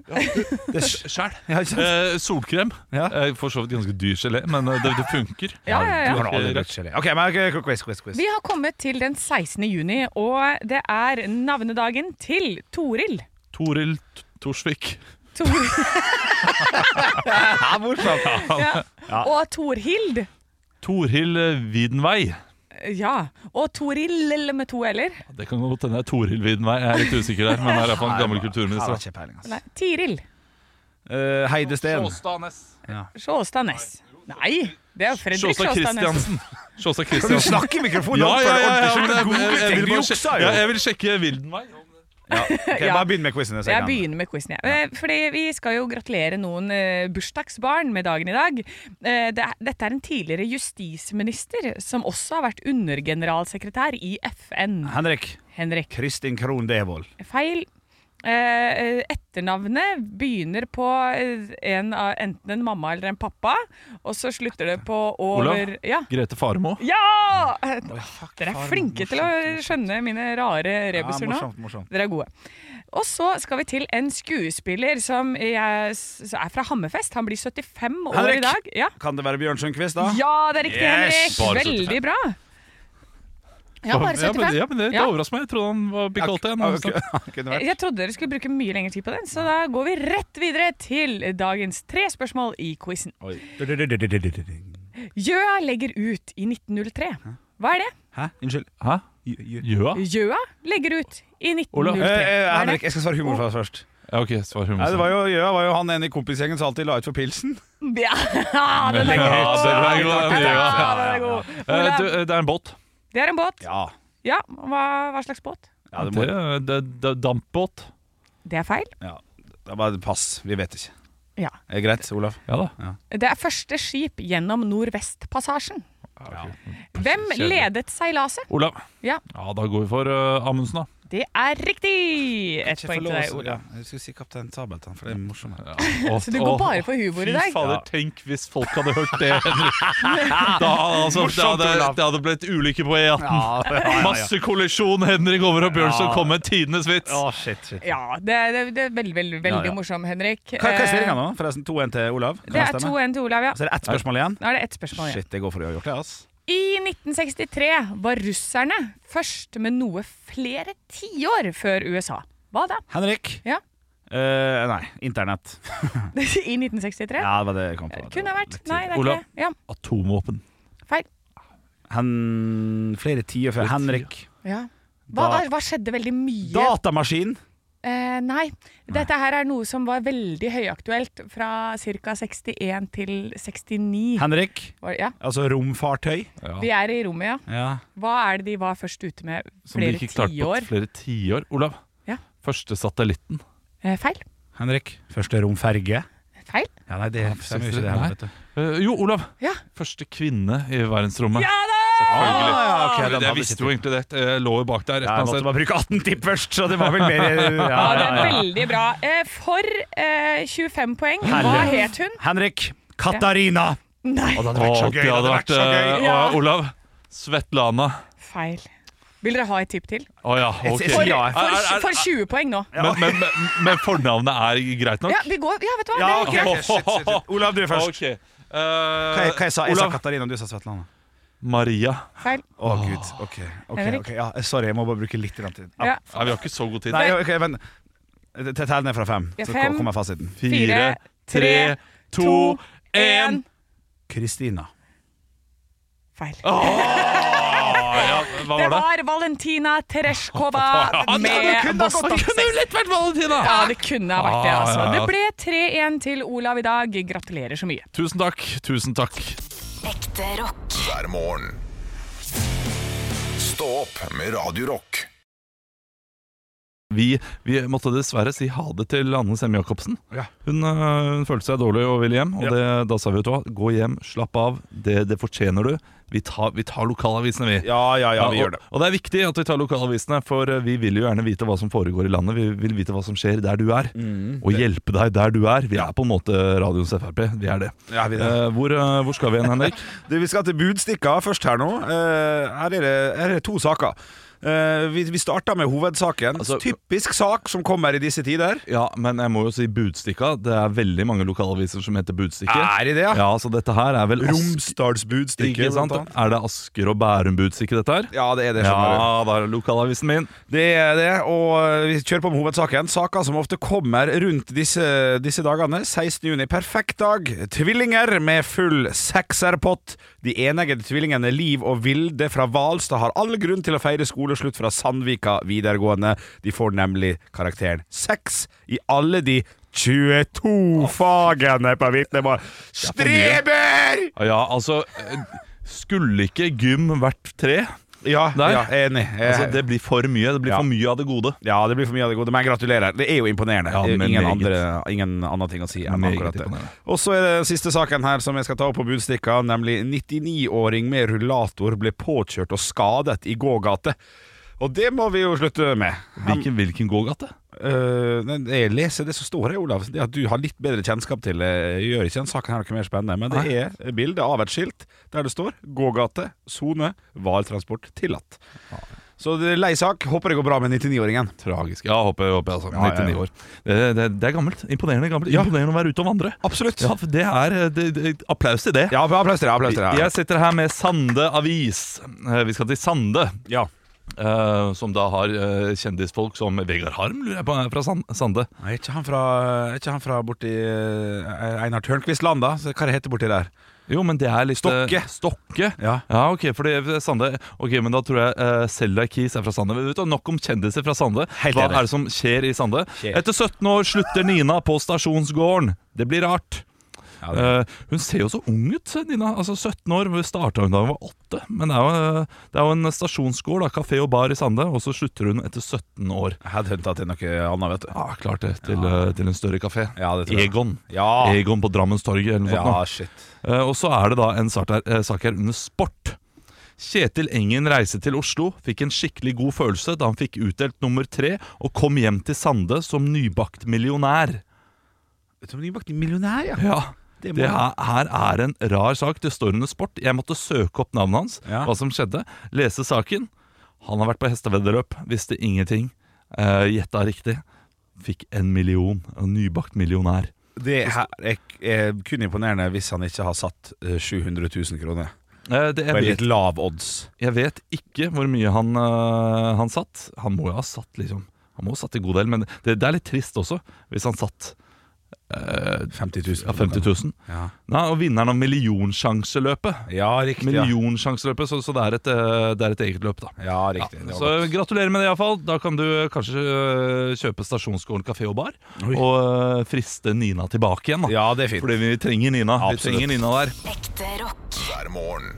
S3: det er,
S2: Sjæl.
S3: ja, ikke sant?
S2: Eh, solkrem.
S3: Ja.
S2: Eh, for så vidt ganske dyr gelé, men eh, det, det funker.
S5: Ja, ja, ja.
S3: Du har nå aldri brukt gelé. OK, men ok, quiz, quiz, quiz.
S5: Vi har kommet til den 16. juni, og det er navnedagen til Toril.
S2: Toril T- Torsvik.
S5: Toril.
S3: Ja, morsomt.
S5: Ja. Og Torhild.
S2: Torhild eh, Widenvei.
S5: Ja. Og Toril med to l-er.
S2: Det kan godt hende det er Torhild Widenvei. Jeg er litt usikker der, men det er iallfall en gammel
S3: Jeg har
S2: kulturminister.
S3: ikke peiling, altså.
S5: Nei, Tiril.
S3: Eh, Heide Steen.
S5: Sjåstad Næss. Nei, det er Fredrik
S2: Sjåstad
S5: Sjåstad Næss.
S2: Christiansen. Sjåstad
S3: Kan du
S2: Christiansen.
S3: snakke i mikrofonen?
S2: Ja, ja, ja, ja,
S3: Du
S2: men jeg-
S3: googler
S2: jeg- jeg
S3: ting,
S2: vil
S3: du
S2: bare
S3: jukser
S2: sjekke-
S3: jo.
S2: ja, Jeg vil sjekke Wildenvei.
S3: Ok,
S5: Ja.
S3: Bare begynn med quizen.
S5: Jeg begynner med quizen. jeg. Eh, Fordi Vi skal jo gratulere noen eh, bursdagsbarn med dagen i dag. Eh, det er- Dette er en tidligere justisminister som også har vært undergeneralsekretær i FN.
S3: Henrik.
S5: Henrik.
S3: Kristin Krohn Devold.
S5: Feil. Eh, etternavnet begynner på eh, en av, enten en mamma eller en pappa, og så slutter det på over
S2: Olav?
S5: Ja!
S2: Grete Faremo.
S5: ja! Dere er flinke til å skjønne mine rare rebuser nå.
S3: morsomt, morsomt.
S5: Dere er gode. Og så skal vi til en skuespiller som jeg, s- er fra Hammerfest. Han blir 75 år
S3: Henrik!
S5: i dag. Ja,
S3: Kan det være Bjørn Sundquist, da?
S5: ja det er riktig,
S3: Yes!
S2: Bare 75.
S5: Henrik. Veldig bra. Ja, bare
S2: Ja, men,
S5: 75.
S2: ja, men det, det
S5: Ja.
S2: overrasker meg. Jeg trodde han var pikk 80 igjen.
S3: Ja,
S2: altså.
S3: ok. Kunne vært.
S5: Jeg jeg trodde dere skulle bruke mye lengre tid på den, så da går vi rett videre til dagens tre spørsmål i quizen. Gjøa legger ut i 1903. Hva er det?
S3: Hæ? Unnskyld.
S2: Hæ?
S3: Gjø-
S2: Gjøa?
S5: Gjøa legger ut i 1903.
S2: Olav.
S3: Eh, eh,
S5: Hva er det?
S3: Henrik, jeg skal svare humor først.
S2: Ja, ok, svar
S3: Nei, det
S2: humor.
S3: var jo, Gjøa var jo han ene i kompisgjengen som alltid la ut for pilsen.
S5: Ja, den er
S2: Ja,
S5: god!
S2: den er god, den er god.
S5: Ja, den er god.
S2: Eh, du,
S5: Olav,
S2: eh, det er en båt.
S5: det er en båt.
S3: Ja.
S5: Ja, hva, hva slags båt?
S3: ja det,
S2: det,
S3: må,
S2: det, det, dampbåt.
S5: Det er feil.
S3: ja. det er bare pass. Vi vet ikke.
S5: Ja.
S3: Er det greit, Olav?
S2: Ja da.
S5: Det er første skip gjennom Nordvestpassasjen.
S3: Ja.
S5: Hvem ledet seilaset?
S2: Olav.
S5: Ja.
S2: da går vi for eh, Amundsen, da.
S5: Det er riktig! Ett poeng til deg, Olav.
S3: Jeg skulle si Kaptein Sabeltann, for det er morsommere.
S2: Og-
S5: Så du går
S2: og-
S5: bare for humor i dag?
S2: Fy fader, tenk hvis folk hadde hørt det, Henrik. Da, altså, det, hadde, det hadde blitt ulykke på E E18. Masse kollisjon. Henrik over og Bjørnson kom med tidenes vits.
S3: shit, shit.
S5: Ja, det, det, det er veldig, veldig, veldig
S3: Ja, ja.
S5: morsom, Henrik.
S3: Hva, hva er stillinga
S5: Eh,
S3: nå? Forresten 2-1 til Olav. Kan
S5: Det
S3: jeg
S5: er
S3: stemme?
S5: 2-1 til Olav, ja.
S3: Så er det ett spørsmål igjen.
S5: Nå er det ett spørsmål igjen.
S3: Shit, det går for å gjøre det, ass.
S5: I 1963 var russerne først med noe flere tiår før USA. Hva da?
S3: Henrik.
S5: Ja.
S3: Eh, nei, Internett.
S5: I 1963?
S3: Ja, det var det jeg kom på. Det
S5: Kunne
S3: var
S5: ha
S3: litt
S5: vært.
S3: tidlig.
S5: Nei, det er
S2: Olav.
S5: ikke det. Ja,
S2: Atomvåpen.
S5: feil.
S3: Hen... Flere tider før Henrik.
S5: Ja. Hva,
S3: Da-
S5: hva- hva skjedde veldig mye?
S3: Datamaskin!
S5: Eh, nei. Dette her er noe som var veldig høyaktuelt fra ca. 61 til 69.
S3: Henrik.
S5: Var- Ja,
S3: Altså romfartøy.
S5: vi er i rommet, ja.
S3: Ja.
S5: Hva er det de var først ute med
S2: Som vi
S5: flere
S2: ikke klarte på
S5: tiår?
S2: flere tiår. Olav.
S5: Ja.
S2: Første satellitten.
S5: Eh, feil.
S3: Henrik. Første romferge.
S5: Feil.
S3: Ja, nei, det stemmer jo ikke det
S2: Nei.
S3: heller, vet du.
S2: Eh, jo, Olav.
S5: Ja.
S2: Første kvinne i verdensrommet.
S5: Ja
S3: Ah,
S5: da!
S3: ja,
S2: Selvfølgelig.
S3: altså- ok, den
S2: Men
S3: hadde
S2: jeg visste
S3: ikke-
S2: jo egentlig det. Eh, Jeg lå jo bak der.
S3: Ja,
S2: et eller
S3: jeg
S2: annet
S3: måtte
S2: sted.
S3: bare bruke 18 tipp først, så det var vel mer ja,
S5: Ja, det
S3: ja,
S5: er
S3: ja.
S5: veldig bra. Eh, For eh, 25 poeng, hva
S3: Herre.
S5: het hun?
S3: Henrik. Katarina!
S5: Nei,
S3: Å, det
S2: Å, det hadde vært, eh,
S5: Ja.
S2: og Olav. Svetlana.
S5: feil. Vil dere ha et tipp til?
S2: Å ja,
S3: Jeg-
S2: ok.
S3: jeg
S5: For,
S3: sier ja, jeg.
S2: Er- er-
S5: for,
S2: er-
S5: for 20 poeng nå.
S2: Men, men, men, men fornavnet er greit nok?
S5: Ja, vi går, ja vet du hva?
S3: Ja,
S5: det er
S3: ok,
S5: greit.
S3: ok, shit, shit, shit. Olav, du er først.
S2: Ok. Eh,
S3: Hva, jeg- hva jeg sa jeg? sa
S2: Olav.
S3: Katarina, du sa Svetlana.
S2: Maria.
S5: Feil.
S3: Å, gud. Ok. ok,
S5: Henrik.
S3: ok. Ja, sorry, jeg må bare bruke litt grann tid.
S5: Ja.
S2: Nei, vi har ikke så god tid.
S3: Nei, ok, men T- Tell ned fra fem,
S5: Ja,
S3: så
S5: fem.
S3: kommer fasiten.
S2: Fire, tre, to,
S5: to,
S2: én.
S5: en.
S3: Kristina.
S5: Feil.
S2: Hva
S5: Det
S2: var det?
S5: var Valentina Tereshkova med Vostok 6.
S2: lett vært Valentina!
S5: Ja, det kunne ha vært det, altså.
S2: Ah, ja,
S5: Det
S2: ja.
S5: ble 3-1 til Olav i dag. Gratulerer så mye.
S2: Tusen takk. Tusen takk.
S7: Ekte rock.
S1: hver morgen. Stå opp med Radio Rock.
S2: Vi, vi måtte dessverre si ha det til Anne Semme Jacobsen.
S3: Ja.
S2: Hun, øh, hun følte seg dårlig og ville hjem, og
S3: Ja.
S2: det, da sa vi vet du hva, gå hjem, slapp av, det, det fortjener du. Vi tar, vi tar lokalavisene, vi.
S3: Ja, ja, ja, vi
S2: og,
S3: gjør det.
S2: Og det er viktig at vi tar lokalavisene, for eh, vi vil jo gjerne vite hva som foregår i landet. Vi vil vite hva som skjer der du er,
S3: Mm.
S2: og hjelpe deg der du er. Vi er på en måte radioens Frp. Vi er det.
S3: Ja, vi er det.
S2: Eh, hvor, eh, hvor skal vi hen, Henrik?
S3: Du, vi skal til budstikka først her nå. Eh, her, er det, her er det to saker. Eh, vi, vi starter med hovedsaken.
S2: Altså-
S3: Typisk sak som kommer i disse tider.
S2: ja, men jeg må jo si Budstikka. Det er veldig mange lokalaviser som heter Budstikke.
S3: Er det det, ja?
S2: Ja, så dette her er vel Ask-
S3: Romsdalsbudstikke,
S2: Ikke sant?
S3: blant annet.
S2: Er det Asker og Bærum Budstikke, dette her?
S3: Ja, det er det. skjønner du.
S2: Ja, da er det lokalavisen min.
S3: Det er det, og eh, vi kjører på med hovedsaken. Saker som ofte kommer rundt disse, disse dagene. 16. juni, perfekt dag. Tvillinger med full sekserpott. De eneggede tvillingene Liv og Vilde fra Hvalstad har all grunn til å feire skoleslutt fra Sandvika videregående. De får nemlig karakteren seks i alle de 22 fagene på vitnemål. Streber!
S2: Ja, altså eh, Skulle ikke gym vært tre?
S3: Ja,
S2: Der.
S3: ja jeg er enig.
S2: Altså, det blir for mye. Det blir
S3: Eh. Ja.
S2: for mye av det gode.
S3: Ja, det blir for mye av det gode, men gratulerer. Det er jo imponerende.
S2: Ja,
S3: Det er
S2: men
S3: ingen,
S2: meget.
S3: andre, ingen annen ting å si enn
S2: Meget
S3: akkurat det.
S2: imponerende.
S3: Og så er det siste saken her som jeg skal ta opp på budstikka, nemlig 99-åring med rullator ble påkjørt og skadet i gågate. Og det må vi jo slutte med. Han,
S2: Hvilken, hvilken gågate?
S3: øh, nei, jeg leser det som står her, Olav. Det at du har litt bedre kjennskap til det, gjør ikke den saken her noe mer spennende. Men det er bilde av et skilt der det står 'gågate, sone, varetransport tillatt'. Så det er lei sak. Håper det går bra med 99-åringen.
S2: Tragisk. Ja, håper jeg. Håper jeg altså.
S3: Ja, ja, ja.
S2: 99 år. Det, det, det er gammelt. Imponerende gammelt.
S3: Ja.
S2: Imponerende å være ute og vandre.
S3: Absolutt.
S2: Ja,
S3: Ja,
S2: for det er eh, det, det, Applaus til det.
S3: applaus til deg. Applaus til deg.
S2: Jeg sitter her med Sande Avis. Eh, Vi skal til Sande,
S3: Ja.
S2: eh, som da har eh, kjendisfolk som Vegard Harm, lurer jeg på, er fra San- Sande.
S3: Er ikke han fra, er ikke han fra borti eh, Einar Tørnquist-land, da? Så Hva det heter det borti der?
S2: Jo, men det er litt eh,
S3: Stokke.
S2: Stokke.
S3: Ja.
S2: Ja, ok, fordi Sande Ok, men da tror jeg uh, Selda Keys er fra Sande. Men Vet du, Nok om kjendiser fra Sande.
S3: Helt
S2: Hva
S3: enig.
S2: er det som skjer i Sande?
S3: Skjer.
S2: Etter 17 år slutter Nina på stasjonsgården. Det blir rart.
S3: Ja, det-
S2: Eh, hun ser jo så ung ut, Nina. Altså 17 år. Starta hun da hun var 8. Men det er jo, eh, det er jo en stasjonsgård, da, kafé og bar i Sande, og så slutter hun etter 17 år.
S3: Headhunta til noe annet, vet du.
S2: Ja, klart det. Til, eh, til en større kafé.
S3: Ja, det tror jeg.
S2: Egon.
S3: Ja.
S2: Egon på Drammenstorget eller noe sånt. nå.
S3: Ja, shit.
S2: Eh, Og så er det da en sak her, eh, sak her under sport. Kjetil Engen reiste til Oslo, fikk en skikkelig god følelse da han fikk utdelt nummer tre, og kom hjem til Sande som nybakt millionær.
S3: Som nybakt millionær, ja.
S2: Ja,
S3: Det
S2: det,
S3: må-
S2: her, her er en rar sak. Det står under sport. Jeg måtte søke opp navnet hans,
S3: Ja.
S2: hva som skjedde, lese saken. Han har vært på hesteveddeløp, visste ingenting. Eh, Gjetta riktig. Fikk en million. En nybakt millionær.
S3: Det her er, er kun imponerende hvis han ikke har satt eh, 700 000 kroner.
S2: Eh, det, jeg
S3: På litt
S2: vet
S3: lav odds.
S2: Jeg vet ikke hvor mye han, øh, han satt. Han må jo ha satt, liksom. Han må ha satt en god del, men det, det er litt trist også, hvis han satt øh,
S3: 50 000.
S2: ja, 50 000.
S3: Ja,
S2: Nei, og vinneren av millionsjanseløpet.
S3: ja riktig. Ja.
S2: Millionsjanseløpet, så, så det, er et, øh, det er et eget løp, da.
S3: ja, riktig.
S2: Ja,
S3: Det var
S2: så
S3: godt.
S2: gratulerer med det, iallfall. Da kan du øh, kanskje øh, kjøpe Stasjonsgården kafé og bar,
S3: Oi.
S2: og øh, friste Nina tilbake igjen, da.
S3: ja, det er fint.
S2: Fordi vi trenger Nina.
S3: Absolutt.
S2: Vi trenger Nina der.
S7: Ekte rock.
S1: hver morgen.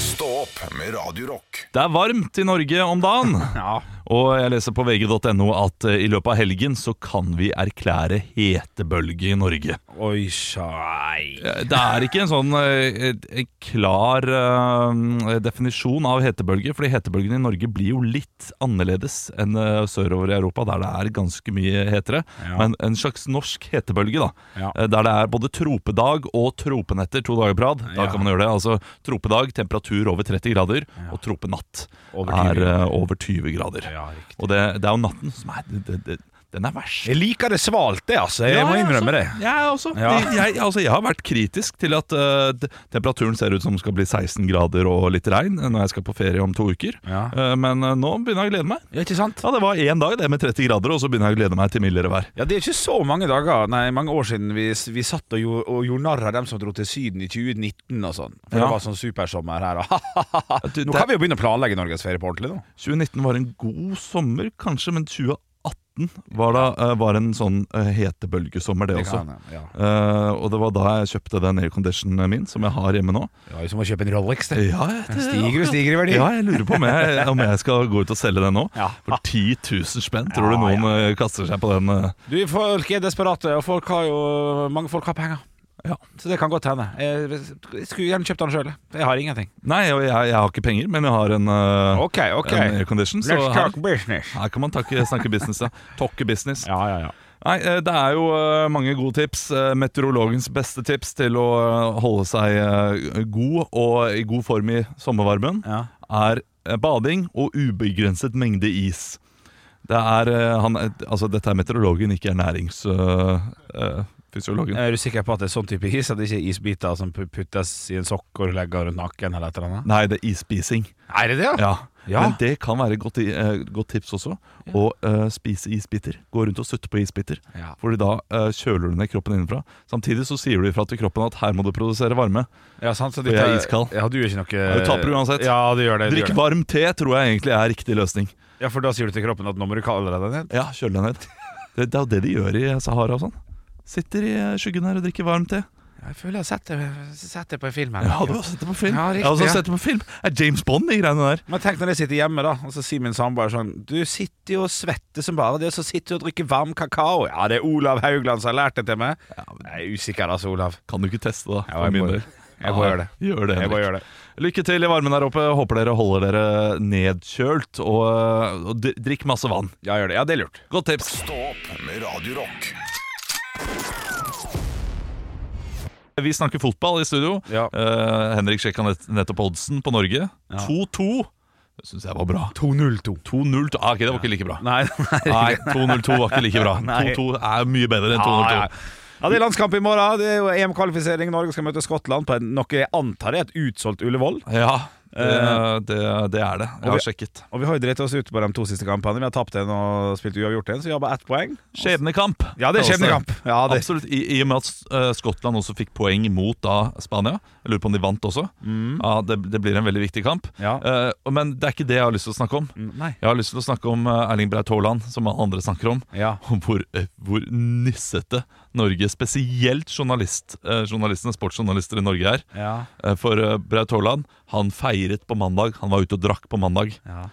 S1: Stå opp med Radio Rock.
S2: Det er varmt i Norge om dagen.
S3: Ja.
S2: Og jeg leser på vg.no at eh, i løpet av helgen så kan vi erklære hetebølge i Norge.
S3: Oi, sjei.
S2: Eh, Det er ikke en sånn eh, eh, klar eh, definisjon av hetebølge, fordi hetebølgen i Norge blir jo litt annerledes enn eh, sørover i Europa, der det er ganske mye hetere.
S3: Ja.
S2: Men en slags norsk hetebølge, da.
S3: Ja.
S2: Eh, Der det er både tropedag og tropenetter to dager på rad. Da
S3: Ja.
S2: kan man gjøre det. Altså tropedag, temperatur over 30 grader, og tropenatt
S3: Over 20
S2: er eh,
S3: grader.
S2: over 20 grader.
S3: Ja, riktig.
S2: Og det, det er jo natten som er det, det, det, Den er verst.
S3: Jeg liker det svalt, det, altså. Jeg må innrømme det.
S2: Ja, altså, jeg,
S3: Ja.
S2: også. Jeg, jeg- altså, jeg har vært kritisk til at eh, d- temperaturen ser ut som skal bli 16 grader og litt regn eh, når jeg skal på ferie om to uker.
S3: Ja.
S2: Eh, men eh, nå begynner jeg å glede meg.
S3: Ja, ikke sant?
S2: Ja, Det var én dag det med 30 grader, og så begynner jeg å glede meg til mildere vær.
S3: Ja, Det er ikke så mange dager Nei, mange år siden vi, vi satt og gjorde, og gjorde narr av dem som dro til Syden i 2019 og sånn. For
S2: Ja.
S3: det var sånn supersommer her. Og
S2: Du,
S3: nå
S2: det-
S3: kan vi jo begynne å planlegge norgesferie på ordentlig, nå.
S2: 2019 var en god sommer, kanskje, men 2018 var, da, eh, var en sånn eh, hetebølgesommer, det,
S3: Det
S2: også.
S3: kan- ja.
S2: Eh, og det var da jeg kjøpte den airconditionen min, som jeg har hjemme nå.
S3: Det var jo som å kjøpe en Rolex. Det.
S2: Ja, jeg- det-
S3: Stiger og stiger i verdi.
S2: Ja, jeg lurer på om jeg, om jeg skal gå ut og selge den nå.
S3: Ja.
S2: For 10 000 spenn. Tror du
S3: Ja,
S2: noen eh, kaster seg på den? eh?
S3: Du, Folk er desperate, og folk har jo, mange folk har penger.
S2: Ja.
S3: Så det kan godt hende. Jeg, jeg skulle gjerne kjøpt den sjøl. Jeg har ingenting.
S2: Nei, og jeg, jeg har ikke penger, men jeg har en, eh,
S3: Ok, ok.
S2: en aircondition. Så
S3: Let's
S2: her,
S3: talk business.
S2: her kan man takke, snakke business. Ja. Talke business.
S3: Ja, ja, ja.
S2: Nei, eh, det er jo eh, mange gode tips. Eh, Meteorologens beste tips til å eh, holde seg eh, god og i god form i sommervarmen,
S3: Ja.
S2: er eh, bading og ubegrenset mengde is. Det er, eh, han, altså, dette er meteorologen, ikke øh, ernæringsfysiologen.
S3: Er du sikker på at det er sånn type is? At det ikke er isbiter som pu- puttes i en sokk og du legger rundt nakken? eller et eller annet?
S2: Nei, det er isspising.
S3: Er det det,
S2: Ja.
S3: Ja.
S2: Men det kan være et godt, i- eh, godt tips også. Å eh, spise isbiter. Gå rundt og sutte på isbiter.
S3: Ja.
S2: Fordi da eh, kjøler du ned kroppen innenfra. Samtidig så sier du ifra til kroppen at her må du produsere varme.
S3: Ja, sant, så
S2: jeg
S3: dette-
S2: er iskald.
S3: Ja, du gjør ikke noe
S2: Du taper uansett.
S3: Ja, du gjør det. Du
S2: Drikk
S3: gjør
S2: varm te tror jeg egentlig er riktig løsning.
S3: det. Ja, For da sier du til kroppen at nå må du kalle deg ned?
S2: Ja, kjøl deg ned. Det, det er jo det de gjør i Sahara og sånn. Sitter i eh, skyggen her og drikker varm te.
S3: Jeg føler jeg har sett det, på en film
S2: Ja, du har sett det på film.
S3: Ja, riktig,
S2: jeg har også
S3: ja.
S2: sett det på film. Det er James Bond, de greiene der.
S3: Men tenk når jeg sitter hjemme, da, og så sier min samboer sånn Du sitter jo og svetter som bare det, og så sitter du og drikker varm kakao. Ja, det er Olav Haugland som har lært det til meg. Jeg er usikker, altså, Olav.
S2: Kan du ikke teste, da?
S3: Ja, jeg
S2: for min
S3: må-
S2: del?
S3: jeg må
S2: Ja,
S3: gjøre det.
S2: Gjør det,
S3: Jeg
S2: Henrik.
S3: bare gjør det.
S2: Lykke til i varmen der oppe. Håper dere holder dere nedkjølt. Og, og dri- drikk masse vann.
S3: Ja, gjør det. Ja, det er lurt.
S2: Godt tips.
S1: Stå opp med Radio Rock.
S2: Vi snakker fotball i studio.
S3: Ja.
S2: Eh, Henrik sjekka nett, nettopp oddsen på Norge. 2-2. Det syns jeg var bra.
S3: 202.
S2: 2-0 ah, Ok, det var ikke like bra.
S3: Nei, nei.
S2: Nei, 2-0-2 var ikke like bra.
S3: Nei.
S2: 2-2 er mye bedre enn 2-0-2.
S3: Ja, ja. Ja, Det er landskamp i morgen. Det er jo EM-kvalifisering. Norge skal møte Skottland på en- noe jeg antar er et utsolgt Ullevål.
S2: Ja, det, det, det er det. Jeg har sjekket.
S3: Eh. Og vi har jo dritt oss ut på de to siste kampene. Vi har tapt en og spilt uavgjort en, så vi har bare ett poeng.
S2: Skjebnekamp.
S3: Ja, det er skjebnekamp. Ja, det.
S2: Absolutt. I, I og med at eh, Skottland også fikk poeng mot da Spania. Jeg lurer på om de vant også. Ja, det, det blir en veldig viktig kamp.
S3: Mm. Ja. Mm.
S2: Eh, men det er ikke det jeg har lyst til å snakke om.
S3: Nei.
S2: Jeg har lyst til å snakke om eh, Erling Braut Haaland, som alle andre snakker om.
S3: Ja.
S2: Om hvor, eh, hvor nissete Norge, spesielt journalist, eh, journalistene, sportsjournalister i Norge, er.
S3: Ja.
S2: Eh, For eh, Braut Haaland han feiret på mandag. Han var ute og drakk på mandag.
S3: Ja.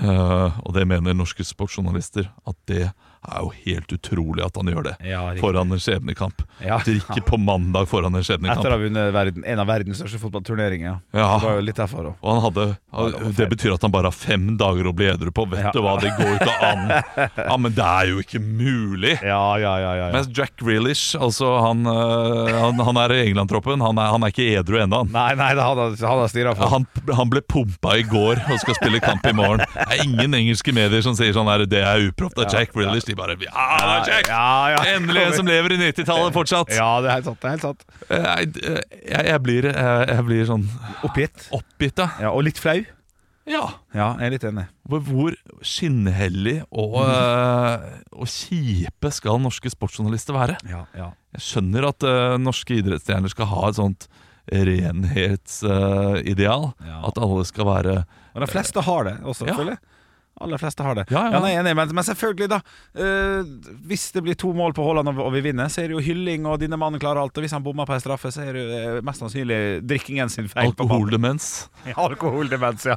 S2: Eh, og det mener norske sportsjournalister at det er jo helt utrolig at han gjør det.
S3: Ja, riktig.
S2: foran en skjebnekamp.
S3: Ja.
S2: Drikke på mandag foran en
S3: Etter å ha
S2: skjebnekamp.
S3: vunnet verden, en av verdens største fotballturneringer. Ja.
S2: Ja.
S3: Det var jo litt derfor òg.
S2: Og han hadde, han- Det betyr at han bare har fem dager å bli edru på. Vet
S3: Ja.
S2: du hva, det går ikke an! Ja, Men det er jo ikke mulig!
S3: Ja, ja, ja, ja, ja.
S2: Mens Jack Grealish, altså han, eh, han, han er i England-troppen. Han, er- han er ikke edru ennå, han.
S3: Nei, nei, det hadde han hadde stirra
S2: Ja,
S3: for.
S2: Han, han ble pumpa i går og skal spille kamp i morgen. Det er ingen engelske medier som sier sånn her Det er uproft. Det er Jack Grealish. De bare Ja, det er Jack!
S3: Ja, ja.
S2: Endelig en som lever i 90-tallet fortsatt. Eh,
S3: Ja, det er helt sant. det er helt sant
S2: Jeg, jeg, jeg, blir, jeg, jeg blir sånn
S3: Oppgitt.
S2: oppgitt, da.
S3: Ja, Og litt flau.
S2: Ja.
S3: Ja, jeg er litt enig.
S2: Hvor- Hvor skinnhellig og, eh, og kjipe skal norske sportsjournalister være?
S3: Ja, ja
S2: Jeg skjønner at eh, norske idrettsstjerner skal ha et sånt renhetsideal.
S3: Ja.
S2: At alle skal være
S3: Og de fleste har det også,
S2: Ja.
S3: føler jeg. Aller fleste har det.
S2: Ja, ja, ja.
S3: nei, jeg er enig, men, men selvfølgelig, da. eh, hvis det blir to mål på Haaland og, og vi vinner, så er det jo hylling, og dine mann klarer alt. Og hvis han bommer på en straffe, så er det jo eh, mest sannsynlig drikkingen sin feil. på banen.
S2: alkoholdemens.
S3: Ja, Alkoholdemens, ja.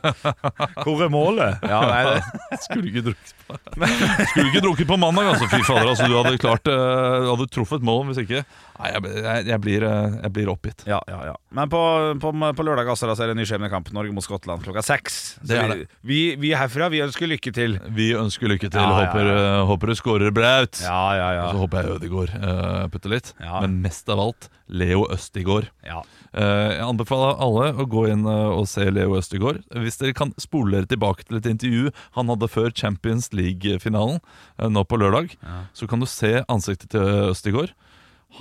S3: Hvor er målet? Ja, nei, det.
S2: Skulle ikke drukket på Skulle ikke drukket på mandag, altså. Fy fader, altså, du hadde klart eh, Du hadde truffet mål hvis ikke. Nei, jeg, jeg, jeg, blir, eh, jeg blir oppgitt.
S3: Ja, ja, ja. Men på, på, på lørdag altså, da, så er det en ny skjebnekamp. Norge mot Skottland klokka seks. Så
S2: Det er
S3: vi- Vi, vi herfra, vi ønsker lykke til.
S2: Vi ønsker lykke til.
S3: Ja, ja, ja.
S2: Håper, eh, håper du skårer Braut.
S3: Ja, ja, ja.
S2: Og så håper jeg Ødegaard uh, putter litt.
S3: Ja.
S2: Men mest av alt Leo Østigård.
S3: ja.
S2: Eh, jeg anbefaler alle å gå inn eh, og se Leo Østegård. Hvis dere kan spole dere tilbake til et intervju han hadde før Champions League-finalen, eh, nå på lørdag, så kan du se ansiktet til Østegård.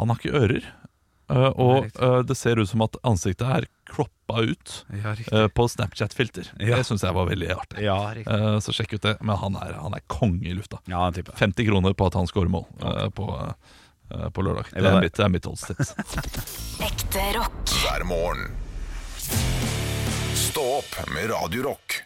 S2: Han har ikke ører, eh, og eh, det ser ut som at ansiktet er kroppa ut
S3: Ja, riktig.
S2: eh, på Snapchat-filter.
S3: Ja.
S2: Det syns jeg var veldig artig.
S3: Ja, riktig.
S2: Eh, så sjekk ut det. Men han er, han er konge i lufta.
S3: Ja, den type.
S2: 50 kroner på at han skårer mål eh, på, eh, på lørdag. Det
S3: var
S2: er
S3: det.
S2: mitt, det er mitt oddstips.
S7: Ekte rock.
S1: hver morgen. Stå opp med Radio Rock.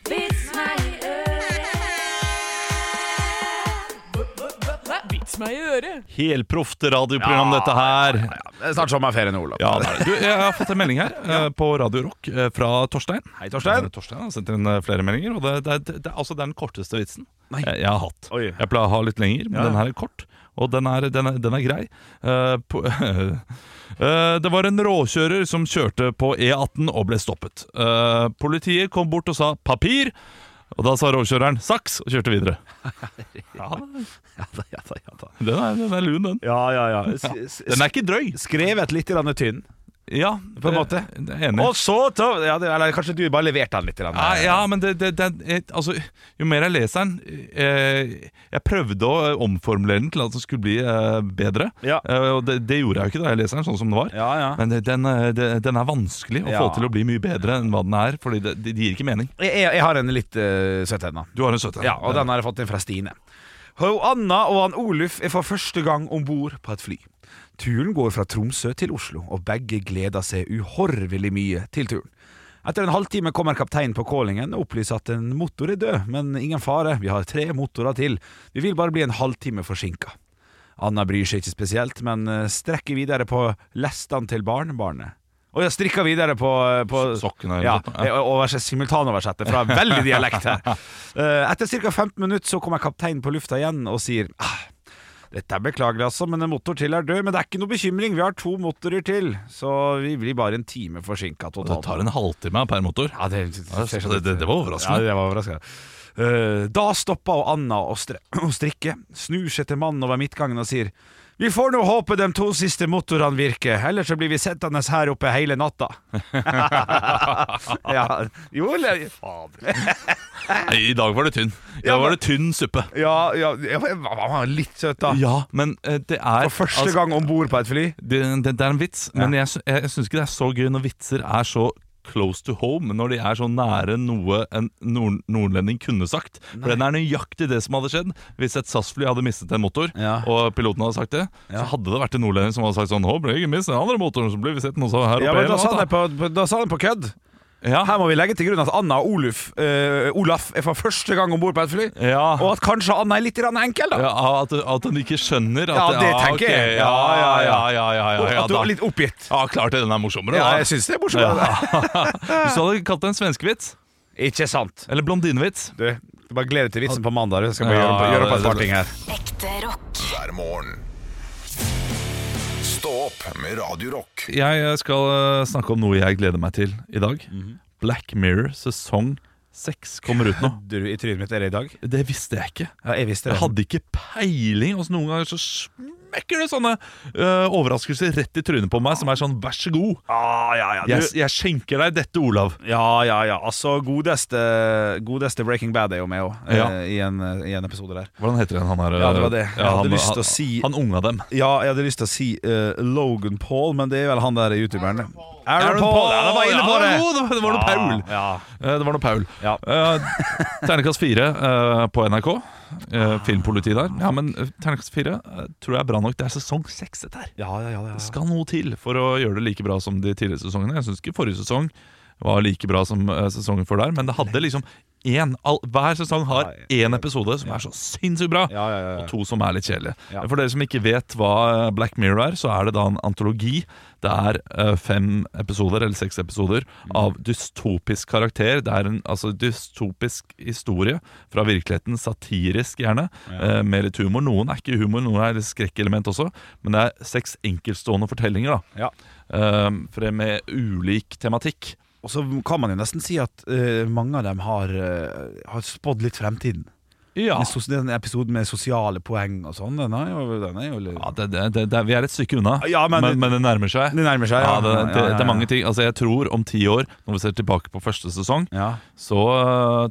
S5: Vits meg i øret.
S2: Helproft radioprogram, dette her.
S3: Det er snart sommerferie nå, Olav.
S2: Ja, det er det. Du, jeg har fått en melding her eh, på Radio Rock eh, fra Torstein.
S3: Hei, Torstein.
S2: Eh, Torstein har sendt inn eh, flere meldinger, og det, det, det, det, altså, det er den korteste vitsen
S3: Nei.
S2: jeg, jeg har hatt.
S3: Oi.
S2: Jeg pleier å ha litt lenger, men
S3: Ja.
S2: den her er kort, og den er, den er, den er grei. Eh, på, Eh, det var en råkjører som kjørte på E18 og ble stoppet. Eh, politiet kom bort og sa 'papir', og da sa råkjøreren 'saks' og kjørte videre. Ja,
S3: Ja da, ja da, ja da.
S2: den er, den er lun, den.
S3: Ja, ja, ja. S- s-
S2: Den er ikke drøy.
S3: Skrevet litt grann tynn.
S2: Ja,
S3: På en måte.
S2: Jeg er enig.
S3: Og så ta- ja, det, Eller kanskje du bare leverte den litt? Grann, eh,
S2: Ja, ja, men det, det, det et- altså, Jo mer jeg leser den eh, Jeg prøvde å omformulere den til at den skulle bli eh, bedre.
S3: Ja.
S2: Eh, og det, det gjorde jeg jo ikke da jeg leser den sånn som den var.
S3: ja, ja.
S2: Men det, den, eh, det, den er vanskelig å
S3: Ja.
S2: få til å bli mye bedre enn hva den er. Fordi det, det gir ikke mening.
S3: Jeg, jeg, jeg har en litt uh, søt en, da.
S2: Du har en søt en.
S3: Ja, og den har jeg fått inn fra Stine. Ho Anna og han Oluf er for første gang om bord på et fly. Turen går fra Tromsø til Oslo, og begge gleder seg uhorvelig mye til turen. Etter en halvtime kommer kapteinen på callingen og opplyser at en motor er død, men ingen fare, vi har tre motorer til, vi vil bare bli en halvtime forsinka. Anna bryr seg ikke spesielt, men eh, strekker videre på lestene til barnebarnet. Og jeg strikker videre på, eh, på
S2: Sokkene, eller
S3: ja,
S2: noe sånt, sånn, ja.
S3: oversett, simultanoversettet fra veldig dialekt her. Eh, Etter ca. 15 minutter så kommer kapteinen på lufta igjen og sier ah, dette er beklagelig, altså, men en motor til er død. Men det er ikke noe bekymring, vi har to motorer til. Så vi blir bare en time forsinka
S2: Og det
S3: totalt.
S2: tar en halvtime per motor.
S3: Ja, det,
S2: det- det- det- det var overraskende.
S3: Ja, det var overraskende. Eh, da stopper og Anna å stre- å strikke, snur seg til mannen over midtgangen og sier Vi får nå håpe de to siste motorene virker, ellers så blir vi sittende her oppe hele natta. ja, jo, eller
S2: Nei, I dag var det tynn. I dag var det tynn suppe.
S3: Ja, ja, ja men han var litt søt, da.
S2: Ja, men eh, det er
S3: For første
S2: altså,
S3: gang om bord på et fly.
S2: det, det, det er en vits, men jeg, sy- jeg syns ikke det er så gøy når vitser er så close to home, når de er så nære noe en nord nordlending kunne sagt. For den er nøyaktig det som hadde skjedd hvis et SAS-fly hadde mistet en motor,
S3: Ja.
S2: og piloten hadde sagt det. Så hadde det vært en nordlending som hadde sagt sånn Å, ble det ikke mist den andre motoren, så ble vi sett noe sånn her
S3: Ja,
S2: oppe
S3: men
S2: hele
S3: da sa
S2: natta».
S3: han på, på, da sa han på kødd.
S2: Ja,
S3: Her må vi legge til grunn at Anna og Oluf, eh, Olaf er for første gang om bord på et fly.
S2: ja.
S3: Og at kanskje Anna er litt grann enkel, da.
S2: Ja, at, at hun ikke skjønner
S3: Ja,
S2: at
S3: det tenker
S2: ok,
S3: jeg.
S2: Ja, ja, ja, ja, ja, ja, ja,
S3: at du
S2: da-
S3: er litt oppgitt.
S2: ja klart det, den er morsommere,
S3: Ja,
S2: da.
S3: jeg syns det er morsomt.
S2: Ja.
S3: det.
S2: Hvis du hadde kalt det en svenskevits,
S3: Ikke sant.
S2: eller blondinevits
S3: Du, du bare gleder deg til vitsen på mandag. Du skal bare
S2: Ja,
S3: gjøre, opp- gjøre opp
S2: ja,
S3: et
S2: det-
S3: par ting her.
S7: Ekte rock.
S1: hver morgen. Stå opp med Radio Rock
S2: Jeg skal eh, snakke om noe jeg gleder meg til i dag.
S3: Mhm.
S2: Black Mirror sesong 6 kommer ut nå.
S3: Du, I trynet mitt er det i dag?
S2: Det visste jeg ikke.
S3: Ja, jeg visste
S2: Jeg
S3: det.
S2: hadde ikke peiling. Altså, noen ganger så smekker det sånne eh, overraskelser rett i trynet på meg som er sånn 'vær så god',
S3: Ah, ja, ja, du-
S2: jeg, jeg skjenker deg dette, Olav.
S3: Ja, ja, ja. Altså, godeste, godeste Breaking Bad er jo med også, eh,
S2: Ja.
S3: i, en, i en episode der.
S2: Hvordan heter han, han her? eh,
S3: Ja, det var det. Jeg hadde
S2: han,
S3: lyst til å
S2: han-
S3: si-
S2: Han unga dem.
S3: Ja, jeg hadde lyst til å si eh, Logan Paul, men det er vel han der youtuberen. Aaron Paul! Ja, da var jeg inne på det!
S2: Ja, jo, det var- det var noe Paul.
S3: Ja,
S2: Eh, Det var noe Paul.
S3: ja.
S2: Eh, Ternekast 4 eh, på NRK. Eh, Filmpoliti der. Ja, men eh, Ternekast 4 eh, tror jeg er bra nok. Det er sesong 6 dette her.
S3: Ja, ja, ja, ja.
S2: Det skal noe til for å gjøre det like bra som de tidligere sesongene. Jeg syns ikke forrige sesong var like bra som eh, sesongen før der, men det hadde liksom én all, Hver sesong har én episode som er så sinnssykt bra.
S3: Ja, ja, ja, ja.
S2: Og to som er litt kjedelige.
S3: Ja.
S2: For dere som ikke vet hva eh, Black Mirror er, så er det da en antologi. Det er eh, fem episoder, eller seks episoder,
S3: Mm.
S2: av dystopisk karakter. Det er en altså, dystopisk historie fra virkeligheten, satirisk gjerne, eh, med litt humor. Noen er ikke humor, noen er litt skrekkelement også, men det er seks enkeltstående fortellinger, da.
S3: Ja.
S2: Eh, for- med ulik tematikk.
S3: Og så kan man jo nesten si at eh, mange av dem har, eh, har spådd litt fremtiden.
S2: Ja.
S3: Med sos- Den episoden med sosiale poeng og sånn, den er jo, den er jo litt...
S2: Ja, det, det, det, det, vi er et stykke unna,
S3: Ja, men-
S2: men, men, det nærmer seg.
S3: Det nærmer seg,
S2: ja.
S3: ja.
S2: det,
S3: Ja, ja,
S2: det,
S3: ja,
S2: det
S3: ja.
S2: er mange ting. Altså, jeg tror om ti år, når vi ser tilbake på første sesong,
S3: Ja.
S2: så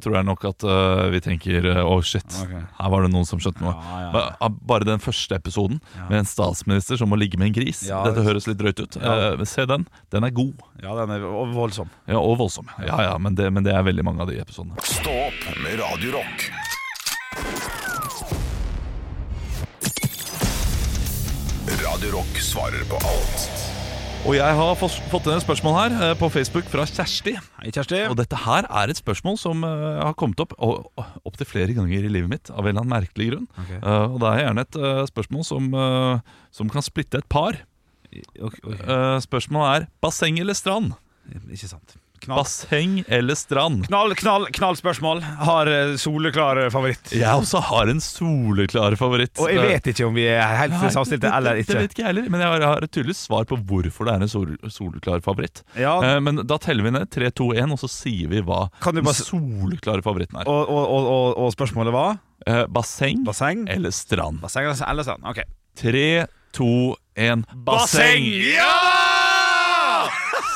S2: øh, tror jeg nok at øh, vi tenker øh, Å, shit,
S3: Ok.
S2: her var det noen som skjønte noe.
S3: Ja, ja.
S2: Ba- av Bare den første episoden med en statsminister som må ligge med en gris.
S3: Ja, det-
S2: Dette høres litt drøyt ut.
S3: Ja.
S2: Eh, se den. Den er god.
S3: ja, den er vo- voldsom.
S2: Ja, og voldsom. Ja, ja, men det, men det er veldig mange av de episodene.
S1: Stå opp med Radio Rock Radio Rock svarer på alt
S2: Og jeg har fått fått inn et spørsmål her eh, på Facebook fra Kjersti.
S3: Hei, Kjersti.
S2: Og dette her er et spørsmål som eh, har kommet opp opptil flere ganger i livet mitt, av en eller annen merkelig grunn.
S3: Ok.
S2: Eh, og det er gjerne et eh, spørsmål som, eh, som kan splitte et par.
S3: Ok, ok.
S2: Eh, spørsmålet er basseng eller strand?
S3: Ikke sant. Knall,
S2: Basseng eller strand?
S3: knall, knall, knallspørsmål. Har eh, soleklar favoritt.
S2: Jeg også har en soleklar favoritt.
S3: Og jeg vet ikke om vi er helt
S2: Nei,
S3: samstilte
S2: det-
S3: eller
S2: det-
S3: ikke.
S2: Det vet ikke jeg heller, men jeg har, har et tydelig svar på hvorfor det er en sol, soleklar favoritt.
S3: Ja,
S2: Eh, men da teller vi ned 3, 2, 1, og så sier vi hva
S3: Kan du
S2: den
S3: bare s-
S2: soleklare favoritten er.
S3: og, og, og, og, og spørsmålet var?
S2: Eh, basseng
S3: Basseng?
S2: eller strand?
S3: Basseng eller eller strand? Ok.
S2: 3, 2, 1
S3: Ja!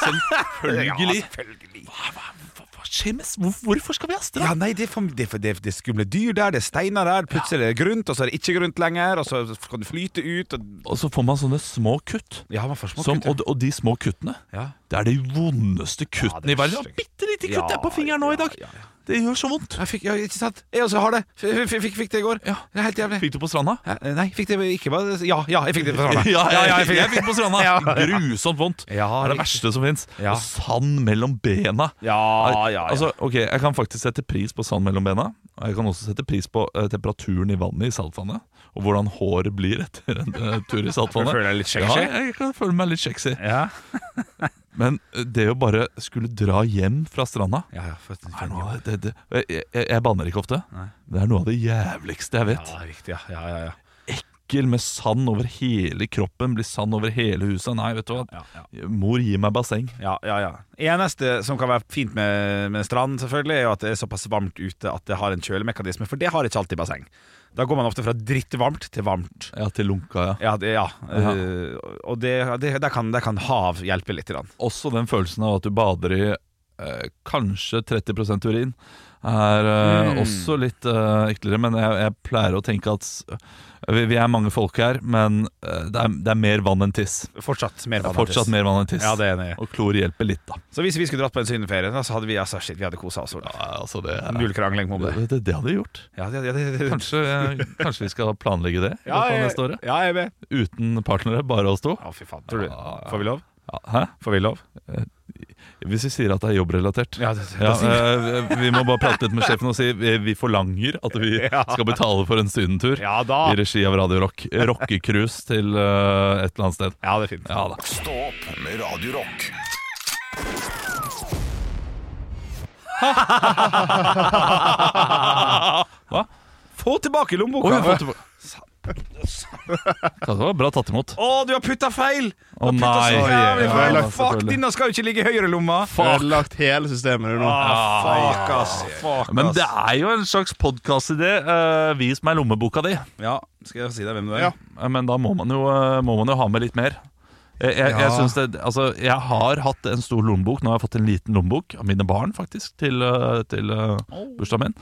S2: Selvfølgelig! altså, Hva, hva skjer med s- hvor- Hvorfor skal vi ha strand?
S3: Ja, nei, det er, for, det, er for, det, er, det er skumle dyr der, det er steiner der, plutselig er det grunt, og så er det ikke grunt lenger, og så kan det flyte ut. Og,
S2: Og så får man sånne små kutt.
S3: ja, man får små
S2: Som,
S3: kutt,
S2: og, og de små kuttene
S3: ja.
S2: Det er de vondeste kuttene
S3: det er
S2: i verden.
S3: stygt.
S2: Bitte lite
S3: Ja,
S2: kutt jeg er på fingeren nå i dag.
S3: ja, ja,
S2: Det gjør så vondt.
S3: Jeg fikk, ja, ikke sant? Jeg også har det. F- f- Fikk, fikk, fikk det i går.
S2: Ja.
S3: Det er helt jævlig.
S2: Fikk du på stranda?
S3: Ja, eh, Nei, fikk det ikke bare Ja, ja, jeg fikk det på stranda.
S2: Ja, ja, jeg,
S3: det.
S2: fikk, jeg fikk på stranda.
S3: Ja, ja.
S2: Grusomt vondt.
S3: Ja,
S2: det er
S3: riktig.
S2: det verste som fins.
S3: Ja.
S2: Og sand mellom bena.
S3: Ja, Ah, ja, ja.
S2: Altså, ok, Jeg kan faktisk sette pris på sand mellom bena. Og jeg kan også sette pris på eh, temperaturen i vannet i saltvannet. Og hvordan håret blir etter en eh, tur i saltvannet.
S3: Du føler deg litt sexy?
S2: Ja, jeg kan føle meg litt sexy.
S3: ja.
S2: Men eh, det å bare skulle dra hjem fra stranda
S3: Ja, ja, for, for,
S2: er noe, av det, det, jeg, jeg, jeg banner ikke ofte. Det er noe av det jævligste jeg vet.
S3: ja, riktig, ja, ja, ja, ja.
S2: Ekkel med sand over hele kroppen, blir sand over hele huset. Nei, vet du hva.
S3: Ja, ja.
S2: Mor, gi meg basseng.
S3: Ja, ja, ja. Eneste som kan være fint med, med strand, selvfølgelig, er jo at det er såpass varmt ute at det har en kjølemekanisme, for det har ikke alltid basseng. Da går man ofte fra drittvarmt til varmt.
S2: Ja, til lunka, ja.
S3: Ja, det, ja. Eh, og det, det, der, kan, der kan hav hjelpe litt. Grann.
S2: Også den følelsen av at du bader i eh, kanskje 30 urin, er eh, også litt eh, eklere. Men jeg, jeg pleier å tenke at s- vi, vi er mange folk her, men eh, det, er, det er mer vann enn tiss.
S3: Fortsatt mer
S2: Det er
S3: vann.
S2: fortsatt mer vann enn tiss.
S3: Ja, det er enig.
S2: Og klor hjelper litt, da.
S3: Så hvis vi skulle dratt på en sydenferie, da, så hadde vi altså, shit, vi hadde kosa oss. Olav.
S2: Ja, altså det,
S3: Null krangling på
S2: det,
S3: det.
S2: det, det hadde jeg gjort.
S3: Ja, det, det, det, det.
S2: Kanskje, eh, kanskje vi skal planlegge det i løpet av neste året?
S3: ja, jeg er med.
S2: Uten partnere, bare oss to?
S3: Å, fy faen. Tror du,
S2: Ja, ja.
S3: får vi lov?
S2: Ja, Hæ? Eh,
S3: Får vi lov?
S2: Hvis vi sier at det er jobbrelatert.
S3: Ja, det- det-
S2: Ja,
S3: da sier
S2: eh, vi må bare prate litt med sjefen og si vi, vi forlanger at vi
S3: Ja.
S2: skal betale for en sydentur
S3: Ja da.
S2: i regi av Radio Rock. Rockecruise til eh, et eller annet sted.
S3: Ja, det er fint.
S2: Ja da.
S1: Stå opp med Radio Rock.
S2: Hva?
S3: Få tilbake lommeboka!
S2: Oi, jeg har fått tilbake- Det var bra tatt imot.
S3: Å, du har putta feil!
S2: Å nei!
S3: Så jævlig
S2: Ja,
S3: feil.
S2: ja,
S3: Fuck,
S2: selvfølgelig.
S3: denne skal jo ikke ligge i høyre lomma!
S4: Ødelagt hele systemet du nå.
S3: Ah. Fuck, ass. Fuck, ass.
S2: Men det er jo en slags podkastidé. Uh, vis meg lommeboka di.
S3: Ja, skal jeg si deg hvem du er?
S4: Ja.
S2: Eh, Men da må man jo, eh, må man jo ha med litt mer. Jeg, jeg, jeg,
S4: Ja.
S2: synes det, altså, jeg har hatt en stor lommebok. Nå har jeg fått en liten lommebok av mine barn, faktisk, til, eh, til eh,
S3: Oh.
S2: bursdagen min.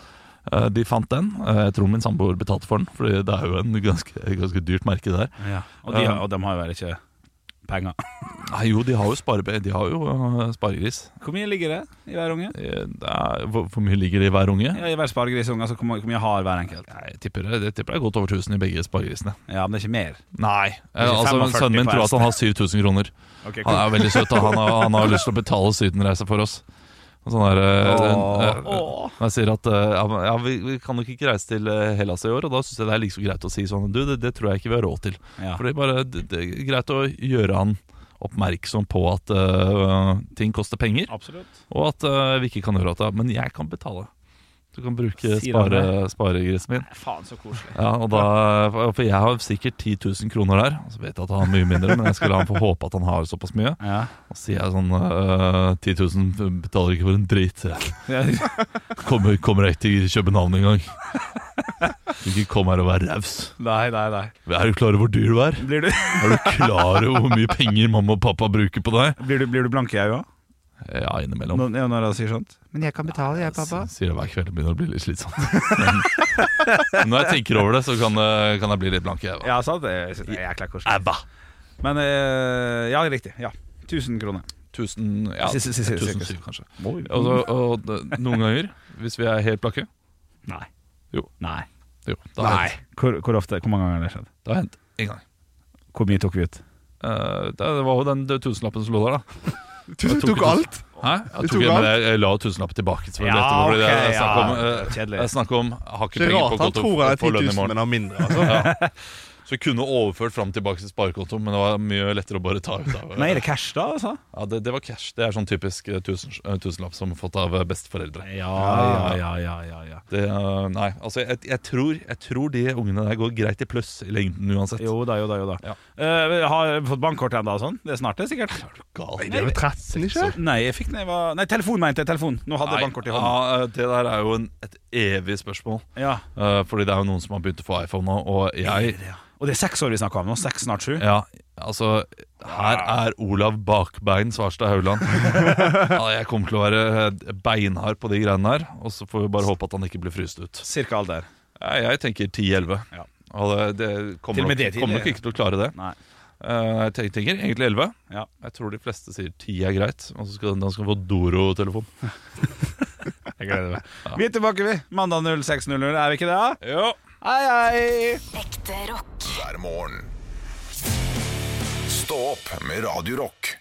S2: Eh, De fant den. Eh, Jeg tror min samboer betalte for den, for det er jo en ganske, et ganske dyrt merke der.
S3: Ja. Og, de, har- og de har jo vel ikke penger.
S2: Nei, jo, de har jo, sparebe, de har jo eh, sparegris.
S3: Hvor mye ligger det i hver unge?
S2: Eh, det er- Hvor, hvor mye ligger det i hver unge?
S3: Ja, I hver sparegrisunge, altså hvor mye- hvor mye har hver enkelt?
S2: Nei, Jeg tipper, det- jeg tipper det er godt over 1000 i begge sparegrisene.
S3: Ja, men det er ikke mer.
S2: Nei, eh,
S3: Ikke
S2: altså
S3: 45
S2: Sønnen min
S3: på
S2: tror at
S3: hest.
S2: han har 7000 kroner.
S3: Ok,
S2: Han
S3: cool.
S2: er veldig søt, og han har, han har lyst til å betale sydenreise for oss. Og sånn der, eh, eh, eh, når jeg sier at eh, ja, men- ja, vi, vi kan nok ikke reise til eh, Hellas i år, og da syns jeg det er like så greit å si sånn Du, det, det tror jeg ikke vi har råd til.
S3: Ja.
S2: For det er bare det, det er greit å gjøre han oppmerksom på at eh, ting koster penger,
S3: Absolutt.
S2: og at eh, vi ikke kan gjøre at det. Men jeg kan betale. Du kan bruke
S3: Sier han
S2: spare, sparegrisen min.
S3: Faen, så koselig.
S2: Ja, og da, for jeg har sikkert 10 000 kroner der. Og så vet jeg at han har mye mindre, men jeg skal la han få håpe at han har såpass mye.
S3: Ja.
S2: Og så sier jeg sånn «Øh, 10 000 betaler ikke for en drit. jeg. Kommer, kommer jeg ikke til København engang. Du ikke kom her og vær raus.
S3: Nei, nei, nei.
S2: Er du klar over hvor dyr du er?
S3: Blir du,
S2: Er du klar over hvor mye penger mamma og pappa bruker på deg?
S3: blir du, blir du blank i øya
S2: Ja, innimellom.
S3: når, når jeg sier sånt?
S2: S- Sier det hver kveld og begynner å bli litt slitsomt. Men når jeg tenker over det, så kan, det- kan jeg bli litt blank i øyet.
S3: Ja, sant? Jeg synes det er jækla koselig.
S2: Æva!
S3: Men eh, ja, riktig. Ja. 1000 kroner.
S2: 1000 ja,
S3: Si- si- si- si-
S2: 1007, kanskje.
S3: Oi.
S2: Og, så- og d- noen ganger, hvis vi er helt blakke
S3: Nei.
S2: Jo.
S3: Nei.
S2: Jo, da har det hendt.
S3: Hvor, hvor ofte? Hvor mange ganger har det skjedd?
S2: Det har hendt én gang.
S3: Hvor mye tok vi ut?
S2: Eh, det, det var jo den det tusenlappen som lå der, da.
S4: Du
S2: Jeg tok
S4: tok
S2: det-
S4: alt.
S2: Hæ? Jeg,
S4: tok
S2: tok, jeg, men
S4: alt.
S2: jeg, jeg la jo tusenlappen tilbake. selvfølgelig
S3: Ja,
S2: etterpå, fordi
S3: ok,
S2: det er snakk om,
S3: ja,
S2: eh,
S3: kjedelig.
S2: det er snakk om jeg har ikke
S4: Ikke
S2: penger
S4: rart
S2: på
S4: han
S2: konto
S4: tror han er
S2: for
S4: 10
S2: lønn i
S4: 000,
S2: morgen.
S4: men har mindre. altså
S2: Ja. Så jeg kunne overført fram tilbake til sparekontoen, men det var mye lettere å bare ta ut av.
S3: Nei, er det cash da, altså?
S2: Ja, det, det var cash. Det er sånn typisk eh, tusen, eh, tusenlapp som er fått av eh, besteforeldre.
S3: Ja, ja, ja, ja, ja.
S2: Det, eh, nei, altså jeg, jeg, tror, jeg tror de ungene der går greit i pluss i lengden uansett.
S3: Jo da, jo da, jo da.
S2: Ja.
S3: Eh, har jeg fått bankkort ennå og sånn? Det er snart det, sikkert.
S2: Gal.
S4: Det er jo 13, ikke?
S3: Nei, jeg fikk den jeg var Nei, telefon mente jeg. Telefon. Nå hadde jeg
S2: Nei,
S3: bankkort i hånden.
S2: Ja, eh, det der er jo en, et evig spørsmål.
S3: Ja.
S2: Eh, fordi det er jo noen som har begynt å få iPhone nå, og jeg
S3: Og det er seks år vi snakker om nå. Seks, snart sju.
S2: Ja, altså Her er Olav Bakbein Svarstad Haugland. Ja, jeg kommer til å være eh, beinhard på de greiene her, og så får vi bare håpe at han ikke blir fryst ut.
S3: Cirka alder.
S2: Ja, Jeg tenker 10-11.
S3: Ja.
S2: Og det, det
S3: Til og
S2: kommer,
S3: med
S2: nok,
S3: det tidlig,
S2: kommer nok
S3: ja.
S2: ikke til å klare det.
S3: Nei.
S2: Eh, jeg tenker, tenker egentlig 11.
S3: Ja.
S2: Jeg tror de fleste sier 10 er greit. Og så skal han skal få Doro-telefon.
S3: Jeg gleder meg. Vi er tilbake, vi. Mandag 06.00, er vi ikke det? da?
S2: Ja.
S3: Hei, hei!
S7: Ekte rock.
S1: hver morgen. Stå opp med Radio Rock.